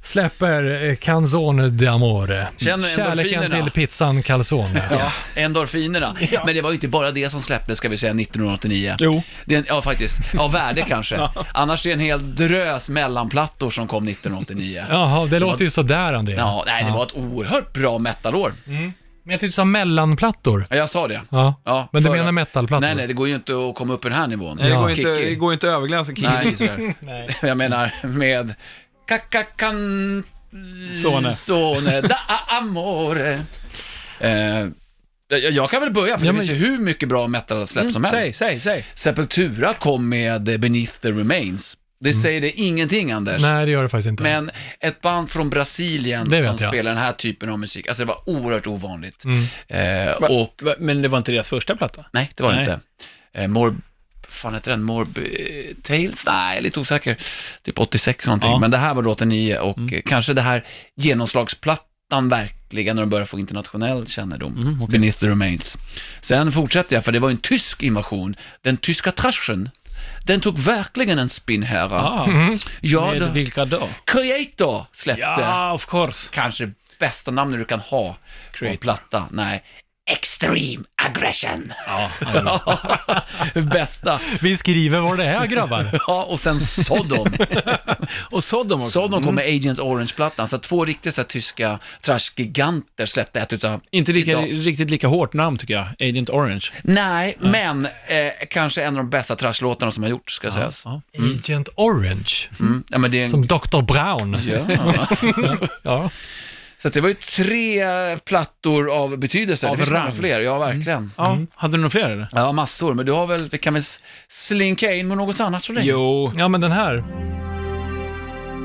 S3: släpper eh, Canzone d'amore.
S1: Känner
S3: Kärleken
S1: endorfinerna.
S3: till pizzan calzone.
S1: Ja, endorfinerna. Men det var ju inte bara det som släpptes, ska vi säga, 1989.
S2: Jo.
S1: Det är en, ja, faktiskt. Av värde kanske. Annars är det en hel drös mellanplattor som kom 1989.
S3: Jaha, det, låter ju sådär André.
S1: Ja, nej, det var ett oerhört bra metalår.
S3: Mm. Men jag tyckte du sa mellanplattor.
S1: Ja, jag sa det.
S3: Ja.
S1: Ja,
S3: Mm. Men du
S1: för-
S3: menar metalplattor?
S1: Nej, nej, det går ju inte att komma upp i den här nivån.
S2: Det går inte,
S1: Kicki.
S2: det går inte att överglänsa Kikki
S1: Nej.
S2: Dee sådär.
S1: Jag menar med kakakan...
S2: Sone.
S1: Sone da amore. Eh, jag, jag kan väl börja, för
S3: Ja,
S1: det
S3: men- Mm,
S1: finns ju hur mycket bra metal-släpp som helst.
S2: Säg, säg, säg.
S1: Sepultura kom med eh, Beneath the Remains. Det säger det ingenting, Anders.
S3: Mm. Nej, det gör det faktiskt inte.
S1: Men ett band från Brasilien
S3: Det vet
S1: som
S3: jag.
S1: spelar den här typen av musik, alltså det var oerhört ovanligt.
S3: Mm.
S1: Eh,
S2: Va-
S1: och
S2: va- Men det var inte deras första platta?
S1: Nej, det var det
S2: Nej.
S1: inte. Eh, Morb... fan heter den? Morb... eh, Tales? Nej, jag är lite osäker. Typ 86 någonting.
S2: Ja. Mm.
S1: Men det här var då 89 och eh, kanske det här genomslagsplattan verkligen när de började få internationell kännedom.
S2: Mm,
S1: Beneath the Remains. Sen fortsätter jag, för det var ju en tysk invasion. Den tyska traschen, den tog verkligen en spinn här.
S2: Ah,
S1: ja,
S2: Med
S1: då-
S2: vilka då?
S1: Creator släppte
S2: Ja, of course.
S1: kanske bästa namnet du kan ha på en
S2: Creator.
S1: platta. Nej. Extreme aggression.
S2: alltså.
S1: bästa.
S3: Vi skriver vad det är grabbar.
S1: Ja, och sen Sodom.
S2: Och Sodom också.
S1: Sodom kom med Agent Orange-plattan, så två riktigt så här, tyska trashgiganter släppte ett utav...
S2: Inte lika,
S1: Ja.
S2: riktigt lika hårt namn tycker jag, Agent Orange.
S1: Nej, men eh, kanske en av de bästa trashlåtarna som har gjorts, ska sägas.
S2: ja.
S3: Agent Orange,
S1: Mm. Ja, men det är en...
S3: som Dr. Brown.
S1: Ja.
S3: Ja.
S1: Så att det var ju tre plattor av betydelse.
S2: Av
S1: det finns många
S2: rang. Mm.
S1: fler, ja verkligen. Mm.
S2: Ja, Hade du några fler eller?
S1: Ja, massor, men du har väl, vi kan väl slinka in med något annat så länge?
S2: Jo.
S3: ja, men den här.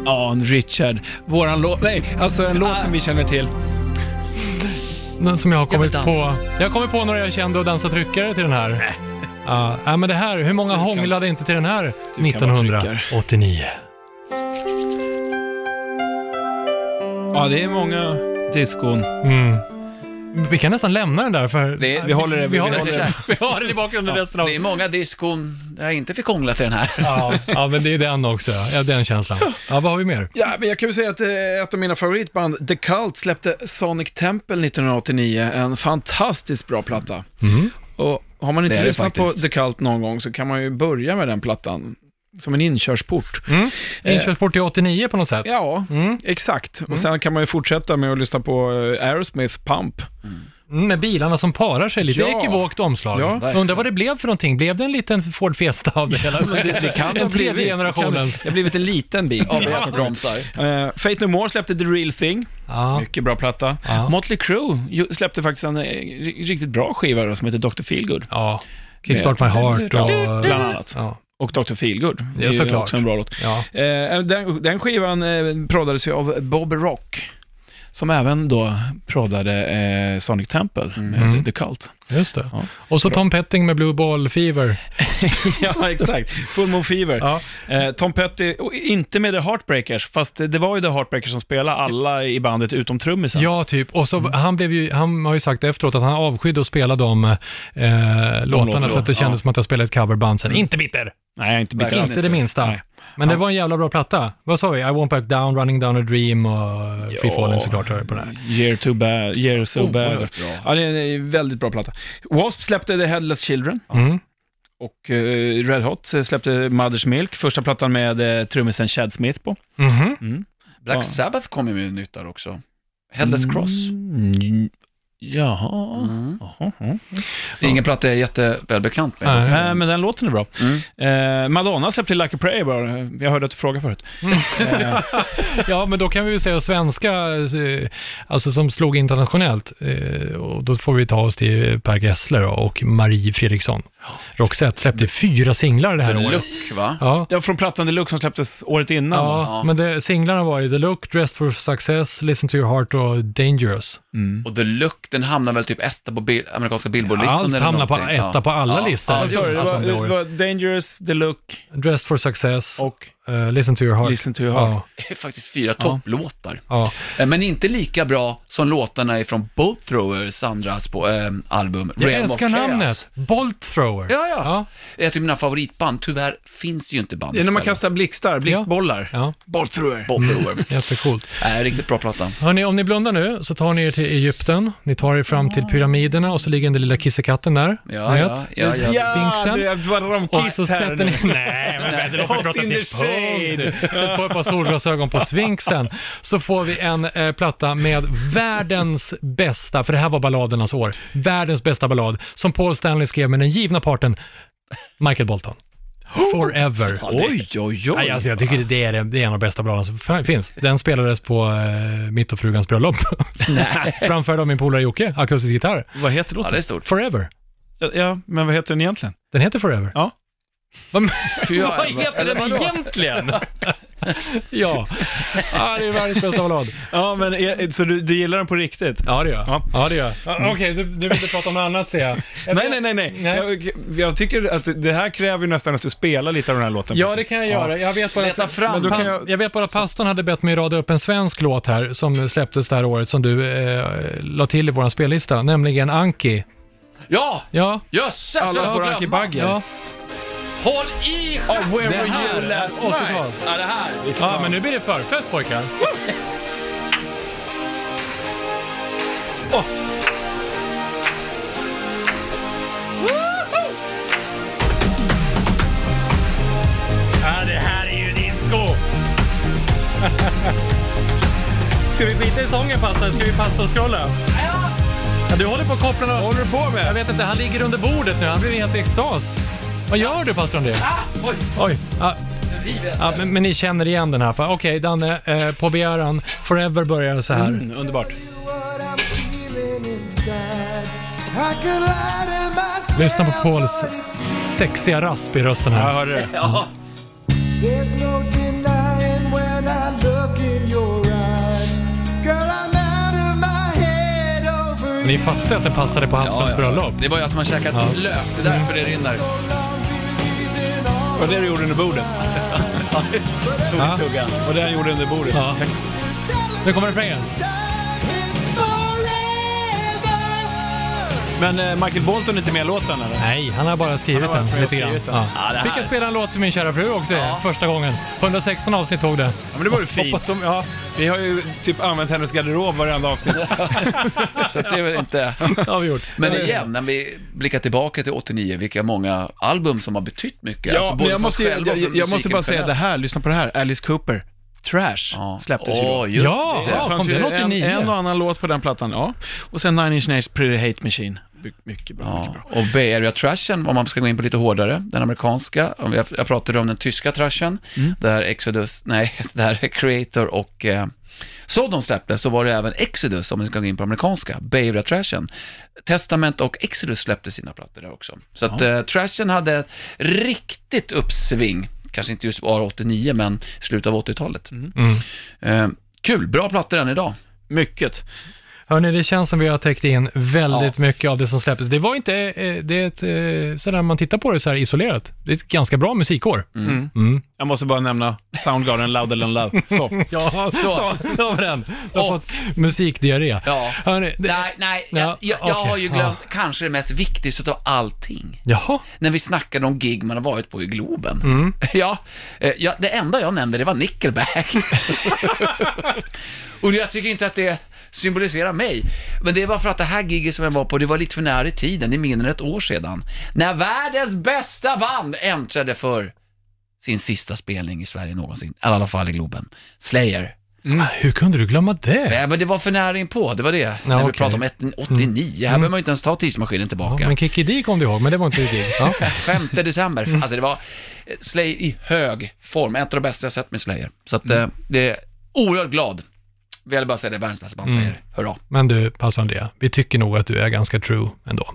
S2: Ja, en Richard. Våran låt, nej, alltså en låt som vi känner till.
S3: Den som jag har kommit
S1: Jag vill
S3: på. Jag har kommit på några jag kände och dansa tryckare till den här. Ja, nej, men det här. Hur många hånglade inte till den här
S2: kan vara tryckare.
S3: 1989?
S2: Ja, det är många diskon.
S3: Mm. Vi kan nästan lämna den där för...
S1: Det-
S2: vi håller det-
S3: Vi,
S2: vi
S3: håller,
S1: håller
S3: det.
S1: det.
S3: vi har den i bakgrunden resten av...
S1: Det är många diskon jag inte fick hångla till den här.
S3: Ja, ja, men det är den också. Ja, den känslan. Ja, vad har vi mer?
S2: Ja, men jag kan väl säga att eh, ett av mina favoritband, The Cult, släppte Sonic Temple 1989. En fantastiskt bra platta. Och har man
S1: Mhm. Det
S2: inte
S1: är det
S2: lyssnat på
S1: faktiskt.
S2: The Cult någon gång så kan man ju börja med den plattan. Som en inkörsport.
S3: Inkörsport till 89 på något sätt.
S2: Eh. Ja,
S3: Mm.
S2: exakt. Och sen kan man ju fortsätta med att lyssna på eh, Aerosmith Pump.
S3: Mm, Med bilarna som parar sig lite. Det är
S2: Ja.
S3: ekivokt omslag.
S2: Ja,
S3: Undrar
S1: verkligen.
S3: vad det blev för någonting. Blev det en liten Ford Fiesta av det hela? en tredje generationens.
S2: Det har blivit en liten bil.
S1: Av er som bromsar.
S2: Eh, Fate No More släppte The Real Thing.
S3: Ja.
S2: Mycket bra platta.
S3: Ja.
S2: Motley Crue ju- släppte faktiskt en eh, ri- riktigt bra skiva då, som heter Dr. Feelgood.
S3: ja. Kickstart My Heart och...
S2: Bland annat.
S3: Ja.
S2: Och Dr. Feelgood.
S3: Ja,
S2: ju
S3: såklart.
S2: också en bra låt.
S3: Ja.
S2: Eh, den, den skivan eh, proddades ju av Bob Rock, som även då proddade eh, Sonic Temple med
S3: Mm.
S2: The Cult.
S3: Just det.
S2: Ja.
S3: Och så Tom Petting med Blue Ball Fever.
S2: ja, exakt. Full Moon Fever.
S3: Ja.
S2: Eh, Tom Petty, och inte med The Heartbreakers, fast det, det var ju The Heartbreakers som spelade alla i bandet utom trummisen.
S3: Ja, typ. Och så,
S2: Mm.
S3: han, blev ju, han har ju sagt efteråt att han avskydde att spela de, eh, låtarna
S2: låter
S3: för att det
S2: då,
S3: kändes
S2: ja.
S3: som att jag spelade ett coverband sen. Inte bitter!
S2: Nej, inte bitter alls.
S3: Inte det minsta.
S2: Nej.
S3: Men det
S2: Ja.
S3: var en jävla bra platta. Vad sa vi? I won't back down, running down a dream och eh, Free Falling såklart hör jag på den här.
S2: Year too bad, year so bad.
S1: Oh, Oerhört bra.
S2: Ja, det är en väldigt bra platta. Wasp släppte The Headless Children
S3: Mm.
S2: och eh, Red Hot släppte Mother's Milk, första plattan med eh, trummisen Chad Smith på.
S3: Mhm.
S1: Black
S2: Ja.
S1: Sabbath kom ju med nytt där också. Headless Cross.
S2: Mm. Jaha.
S1: Mm.
S2: Jaha. jaha.
S1: Det är ingen platta jag är jättevälbekant med.
S3: Nej.
S2: Nej, Eh, men den låten är bra.
S1: Mm.
S2: Eh, Madonna släppte Like a Prayer bara. Jag hörde att du frågade förut.
S3: Ja, men då kan vi ju säga svenska, eh, alltså som slog internationellt. eh, Och då får vi ta oss till Per Gessler och Marie Fredriksson. Roxette släppte fyra singlar det här
S1: För
S3: året.
S1: Luck, va?
S3: Ja.
S2: Ja, från plattan Deluxe som släpptes året innan.
S3: Ja, men det, singlarna var ju The Look, Dressed for Success, Listen to Your Heart och Dangerous.
S1: Och The Look, den hamnar väl typ etta på bil amerikanska Billboard-listan
S3: Allt
S1: eller
S3: hamnar på
S1: någonting.
S3: etta på alla listor.
S1: Ja,
S2: Vad sa du? Det
S3: Alltså,
S2: var,
S3: det
S2: det
S3: året.
S2: var Dangerous, Deluxe
S3: Dressed for Success,
S2: och
S3: eh, Listen to Your Heart.
S2: Listen to your heart.
S1: det är faktiskt fyra topplåtar.
S3: Ja,
S1: Eh, Men inte lika bra som låtarna ifrån Bolt Throwers andra spå, eh, album.
S3: ja. Jag
S1: Realm of
S3: älskar
S1: Chaos.
S3: namnet. Bolt Thrower.
S1: Ja, ja.
S3: ja.
S1: Det är typ mina favoritband. Tyvärr finns ju inte bandet.
S2: Det är när man
S1: själva.
S2: kastar blixtar, blixtbollar.
S3: ja.
S1: Bolt Thrower. Bolt Thrower.
S3: Jättecoolt.
S1: Nej, riktigt bra platta.
S3: Hörni, om ni blundar nu så tar ni er till Egypten, ni tar er fram till pyramiderna och så ligger den lilla kissekatten där.
S1: Ja,
S3: Ni
S1: ja,
S3: vet,
S1: ja, ja.
S3: Sphinxen.
S2: det var om
S3: Och så
S2: Kiss här
S3: sätter
S2: nu.
S3: ni... Nej, men vänta, låt mig
S2: Hot
S3: prata
S2: in
S3: till
S2: the shade.
S3: punkt. Sätt på ett par solglasögon på Sphinxen. Så får vi en eh, platta med världens bästa, för det här var balladernas år, världens bästa ballad som Paul Stanley skrev med den givna parten Michael Bolton. Forever.
S2: Oj, oj, oj.
S3: Nej, alltså jag tycker det är, det, det är en av de bästa bladen som f- finns. Den spelades på eh, mitt och frugans bröllop. Framförd av min polare Jocke, akustisk gitarr.
S2: Vad heter
S1: ja, det är
S2: låten?
S1: stort.
S3: Forever.
S2: Ja, men vad heter den egentligen?
S3: Den heter Forever.
S2: Ja.
S3: Vad-
S1: Vad
S3: egentligen? ja. ja, det är världens bästa ballad.
S2: Ja, men är- så du, du gillar den på riktigt?
S3: Ja, det gör jag.
S2: Ja.
S3: Ja, det gör jag. Ja, Okej, du, du vill inte prata om något annat ser jag. jag.
S2: Nej,
S3: vet-
S2: nej, nej. nej.
S3: Nej.
S2: Jag, jag tycker att det här kräver ju nästan att du spelar lite av den här låten.
S3: Ja, det
S2: faktiskt.
S3: kan jag göra. Jag vet bara
S1: Leta
S3: att...
S1: fram.
S2: Men då kan
S1: Pass-
S2: jag-
S3: Jag vet bara att pastorn hade bett mig rada upp en svensk låt här som släpptes det här året som du eh, la till i vår spellista, nämligen Anki.
S1: Ja,
S3: Ja,
S1: jösses. jag
S2: Allas
S1: ska
S2: vår
S1: glömma.
S2: Anki Bagger.
S3: ja.
S1: Håll i
S2: Oh,
S3: Det
S2: where were
S3: här
S2: you
S3: är
S2: last
S3: 80-tal.
S2: night? Ja, det här.
S3: Ja, men nu blir det förfest pojkar.
S2: Ja, det här är ju disco!
S3: Ska vi skita i sången pastorn? Ska vi pastorscrolla? Ja! Du håller på att koppla några...
S2: håller du på med?
S3: Jag vet inte, han ligger under bordet nu. Han blir helt i extas. Vad gör du pastorn det?
S2: Ah,
S1: Oj,
S3: Oj. Ah. Ja,
S1: rivet.
S3: ja, men, men ni känner igen den här. Okej, Danne. Eh, på begäran. Forever börjar så här.
S2: Underbart.
S8: What I'm feeling inside. I could lie to myself,
S3: Lyssna på Pauls
S8: but it's true.
S3: sexiga rasp i rösten
S2: Jag
S3: här.
S2: hörde det.
S1: Ja,
S8: There's no denying when I look in your eyes. Girl, I'm out of my head over
S3: Ni fattar att den passade på
S1: ja,
S3: Haslunds
S1: ja, ja.
S3: bröllop.
S1: Det var jag som har käkat lök. Det är därför det rinner.
S2: Och det du gjorde under bordet.
S1: Tog i tuggan.
S2: Och det han gjorde under bordet.
S3: Ja. Nu kommer refrängen.
S2: Men eh, Michael Bolton är inte med i låten eller?
S3: Nej, han har bara skrivit
S2: Han har
S3: den
S2: bara varit med
S3: lite grann.
S2: och skrivit den.
S3: Ja.
S1: Ja, det här-
S3: Fick jag spela en låt till min kära fru också första gången. 116 avsnitt tog det.
S2: Ja, men det var ju fint. Som, ja, vi har ju typ använt hennes garderob varenda avsnitt.
S1: Så att det är väl inte...
S3: Det har vi gjort.
S1: Men igen, när vi blickar tillbaka till 89, vilka många album som har betytt mycket.
S2: Ja,
S1: alltså både för
S2: men jag
S1: oss
S2: måste, ju-
S1: själva och för
S2: jag, jag, jag måste
S1: musiken
S2: bara säga det
S1: generellt.
S2: här, lyssna på det här. Alice Cooper, Trash,
S1: Ja.
S2: släpptes ju då.
S1: Åh, just
S3: Ja,
S1: det.
S3: ja.
S2: Det fanns
S3: kom
S2: ju
S3: den
S2: en,
S3: 89?
S2: en och annan låt på den plattan, ja. Och sen Nine Inch Nails Pretty Hate Machine. My- Mycket bra, mycket
S1: Ja,
S2: bra.
S1: och Bay Area Trashen, om man ska gå in på lite hårdare, den amerikanska, om jag, jag pratade om den tyska trashen,
S2: Mm.
S1: där Exodus, nej, där Creator och eh, Sodom släpptes, så var det även Exodus, om man ska gå in på amerikanska, Bay Area Trashen. Testament och Exodus släppte sina plattor där också. Så att eh, Trashen hade ett riktigt uppsving, kanske inte just bara 89, men
S2: Mm.
S1: slutet av 80-talet. Eh, kul, bra plattor än idag.
S2: Mycket.
S3: Hörni, det känns som vi har täckt in väldigt
S1: Ja.
S3: mycket av det som släpptes. Det var inte, eh, det är ett, eh, sådär man tittar på det så här isolerat. Det är ett ganska bra musikår.
S8: Mm. Jag måste bara nämna Soundgarden, Louder Than Love. Så.
S3: Ja, så, så var den. Du har
S1: Och-
S3: fått musikdiarré.
S1: Ja.
S3: Hörni, det,
S1: Nej, nej, jag,
S3: Ja,
S1: jag, jag
S3: okej,
S1: har ju glömt kanske det mest viktigaste av allting.
S3: Jaha,
S1: När vi snackade om gig man har varit på i Globen.
S3: Mm.
S1: Ja, eh, ja, det enda jag nämnde det var Nickelback. Och jag tycker inte att det symboliserar mig. Men det var för att det här giget som jag var på, det var lite för nära i tiden, det är mindre än ett år sedan. När världens bästa band äntrade för sin sista spelning i Sverige någonsin. I alla fall i Globen. Slayer.
S3: Ah, hur kunde du glömma det?
S1: Mm. Nej, men det var för nära inpå, det var det. när vi
S3: okej. Mm.
S1: pratade om ett- 89, här behöver man ju inte ens ta tidsmaskinen
S3: Ja,
S1: tillbaka.
S3: men Kikki Dee kom du ihåg, men det var inte ditt gig. Ja.
S1: 5 december.
S3: Mm.
S1: Alltså det var eh, Slayer i hög form. Ett av de bästa jag sett med Slayer. Så
S3: Mm.
S1: att eh, det är oerhört glad. Vi vill bara säga det, världens bästa band
S3: Mm.
S1: Slayer. Hurra.
S3: Men du, Pastor Andrea, vi tycker nog att du är ganska true ändå.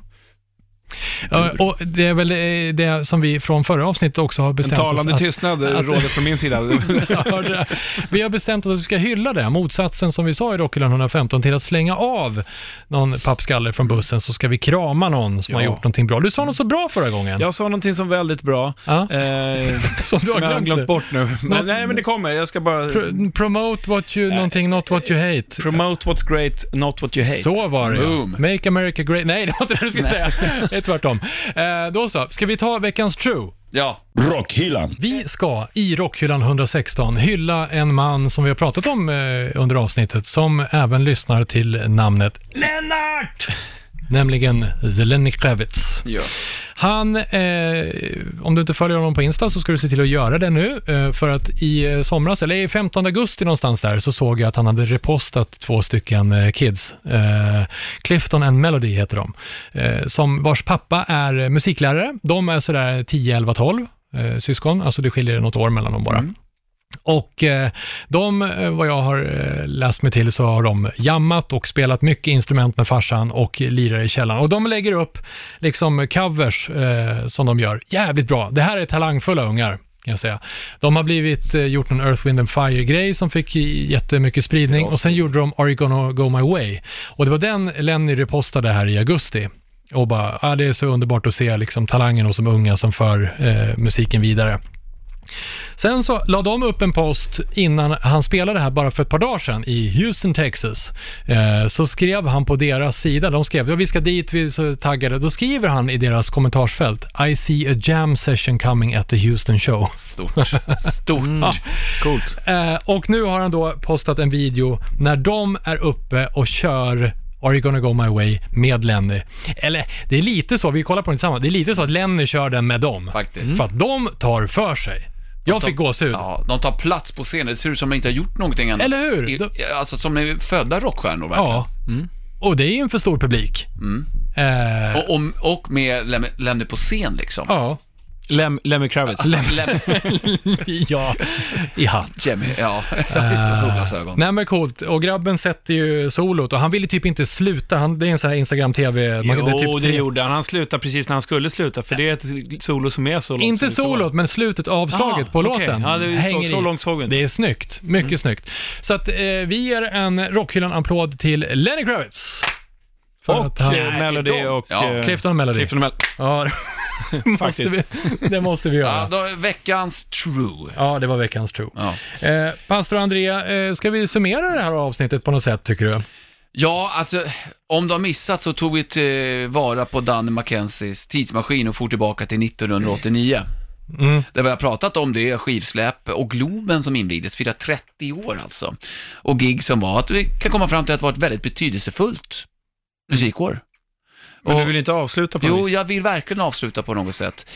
S3: Ja, och det är väl eh, det som vi från förra avsnittet också har
S8: En
S3: bestämt
S8: talande
S3: oss
S8: tystnad råder från min sida.
S3: att, Ja, det- Vi har bestämt oss att vi ska hylla det, motsatsen som vi sa i Rockhyllan 115, till att slänga av någon pappskalle från bussen så ska vi krama någon som har gjort någonting bra. Du sa något så bra förra gången.
S8: Jag sa någonting som väldigt bra.
S3: Ja.
S8: Eh,
S3: Som
S8: som
S3: du har
S8: jag
S3: glömt
S8: har
S3: nu.
S8: glömt bort nu.
S3: Något-
S8: Men, nej, men det kommer. Jag ska bara...
S3: Pro- promote what you, någonting, not what you hate.
S8: Promote what's great, not what you hate.
S3: Så var det ja.
S1: Boom.
S3: Make America Great. Nej, det var inte det du skulle säga. Det är tvärtom. Eh, då så, ska vi ta veckans true?
S1: Ja.
S4: Rockhyllan.
S3: Vi ska i Rockhyllan 116 hylla en man som vi har pratat om eh, under avsnittet, som även lyssnar till namnet Lennart! Nämligen Zeleny Kravitz.
S1: ja.
S3: Han, eh, om du inte följer honom på Insta så ska du se till att göra det nu. Eh, för att i eh, somras, eller i 15 augusti någonstans där, så såg jag att han hade repostat två stycken eh, kids. Eh, Clifton and Melody heter de. Eh, som, vars pappa är eh, musiklärare. De är sådär 10, 11, 12 eh, syskon. Alltså det skiljer något år mellan dem bara. Och eh, de, eh, vad jag har eh, läst mig till, så har de jammat och spelat mycket instrument med farsan och lirar i källaren. Och de lägger upp liksom covers eh, som de gör. Jävligt bra. Det här är talangfulla ungar. Kan jag säga. De har blivit, eh, gjort en Earth, Wind and Fire-grej som fick i- jättemycket spridning och sen gjorde de Are You Gonna Go My Way. Och det var den Lenny repostade här i augusti och bara, ah, det är så underbart att se liksom, talangen hos de unga som för eh, musiken vidare. Sen så la de upp en post innan han spelade här bara för ett par dagar sedan i Houston, Texas. Eh, så skrev han på deras sida, de skrev ja, vi ska dit, vi är så taggade. Då skriver han i deras kommentarsfält I see a jam session coming at the Houston show.
S1: Stort. Stort.
S3: Mm.
S1: Coolt.
S3: Eh, och nu har han då postat en video när de är uppe och kör Are you gonna go my way med Lenny. Eller det är lite så, vi kollar på den tillsammans, det är lite så att Lenny kör den med dem.
S1: Faktiskt.
S3: För att de tar för sig. Jag
S1: tar-
S3: fick gåshud.
S1: Ja, de tar plats på scenen. Det ser ut som de inte har gjort någonting annat.
S3: Eller hur?
S1: I, alltså som är födda rockstjärnor verkligen.
S3: Ja.
S8: Mm.
S3: Och det är ju en för stor publik. Eh,
S1: Och, och, och med Lem- Lemmy på scen liksom.
S3: ja.
S8: Lem, Lemmy Kravitz.
S1: Lem-
S3: ja, i hatt.
S1: Jimmy, ja. Ja, Just det, solglasögon.
S3: Nej men coolt, och grabben sätter ju solot och han ville typ inte sluta, han, det är en sån här Instagram-tv. man-
S8: Jo,
S3: är
S8: det,
S3: typ tre-
S8: gjorde han. Han slutade precis när han skulle sluta, för det är ett solo som är så långt som
S3: Inte
S8: det ska vara.
S3: solot, men slutet avslaget
S8: Ah,
S3: på
S8: okej.
S3: låten.
S8: Ja, det så,
S3: hänger
S8: så
S3: i.
S8: långt Mm. såg vi inte.
S3: Det är snyggt, mycket snyggt. Så att eh, vi ger en Rockhyllan-applåd till Lenny Kravitz. För
S8: Och
S3: att han...
S8: eh, Melody och...
S1: Ja,
S8: eh,
S3: Clifton Melody.
S8: Clifton och Mel-
S3: Ja, det måste
S8: Faktiskt.
S3: vi, det måste vi
S1: Ja,
S3: göra.
S1: då, är veckans true.
S3: Ja, det var veckans tro.
S1: Ja.
S3: Eh, Pastor Andrea, eh, ska vi summera det här avsnittet på något sätt tycker du?
S1: Ja, alltså om du har missat så tog vi tillvara på Danny Mackenzies tidsmaskin och for tillbaka till 1989.
S8: Mm.
S1: Det vi har pratat om det är skivsläpp och Globen som invigdes, firar 30 år alltså. Och gig som var, att vi kan komma fram till att det var ett väldigt betydelsefullt musikår.
S8: Men
S1: Och-
S8: du vill inte avsluta på något
S1: Jo,
S8: vis?
S1: jag vill verkligen avsluta på något sätt.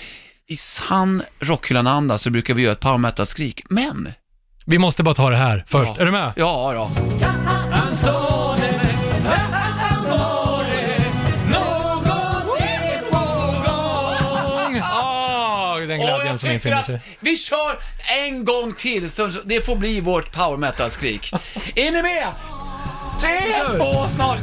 S1: I sann rockhyllan-anda så brukar vi göra ett power metal-skrik, men...
S3: Vi måste bara ta det här först.
S1: Ja.
S3: Är du med?
S1: Ja, då.
S3: Åh, den
S1: Och
S3: glädjen
S1: jag
S3: som
S1: tycker
S3: infinner
S1: att
S3: sig.
S1: vi kör en gång till, så det får bli vårt power metal-skrik. Är ni med? Tre, två, snart!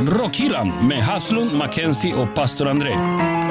S4: Rockhyllan med Havslund Haslund, Mackenzie och pastor André.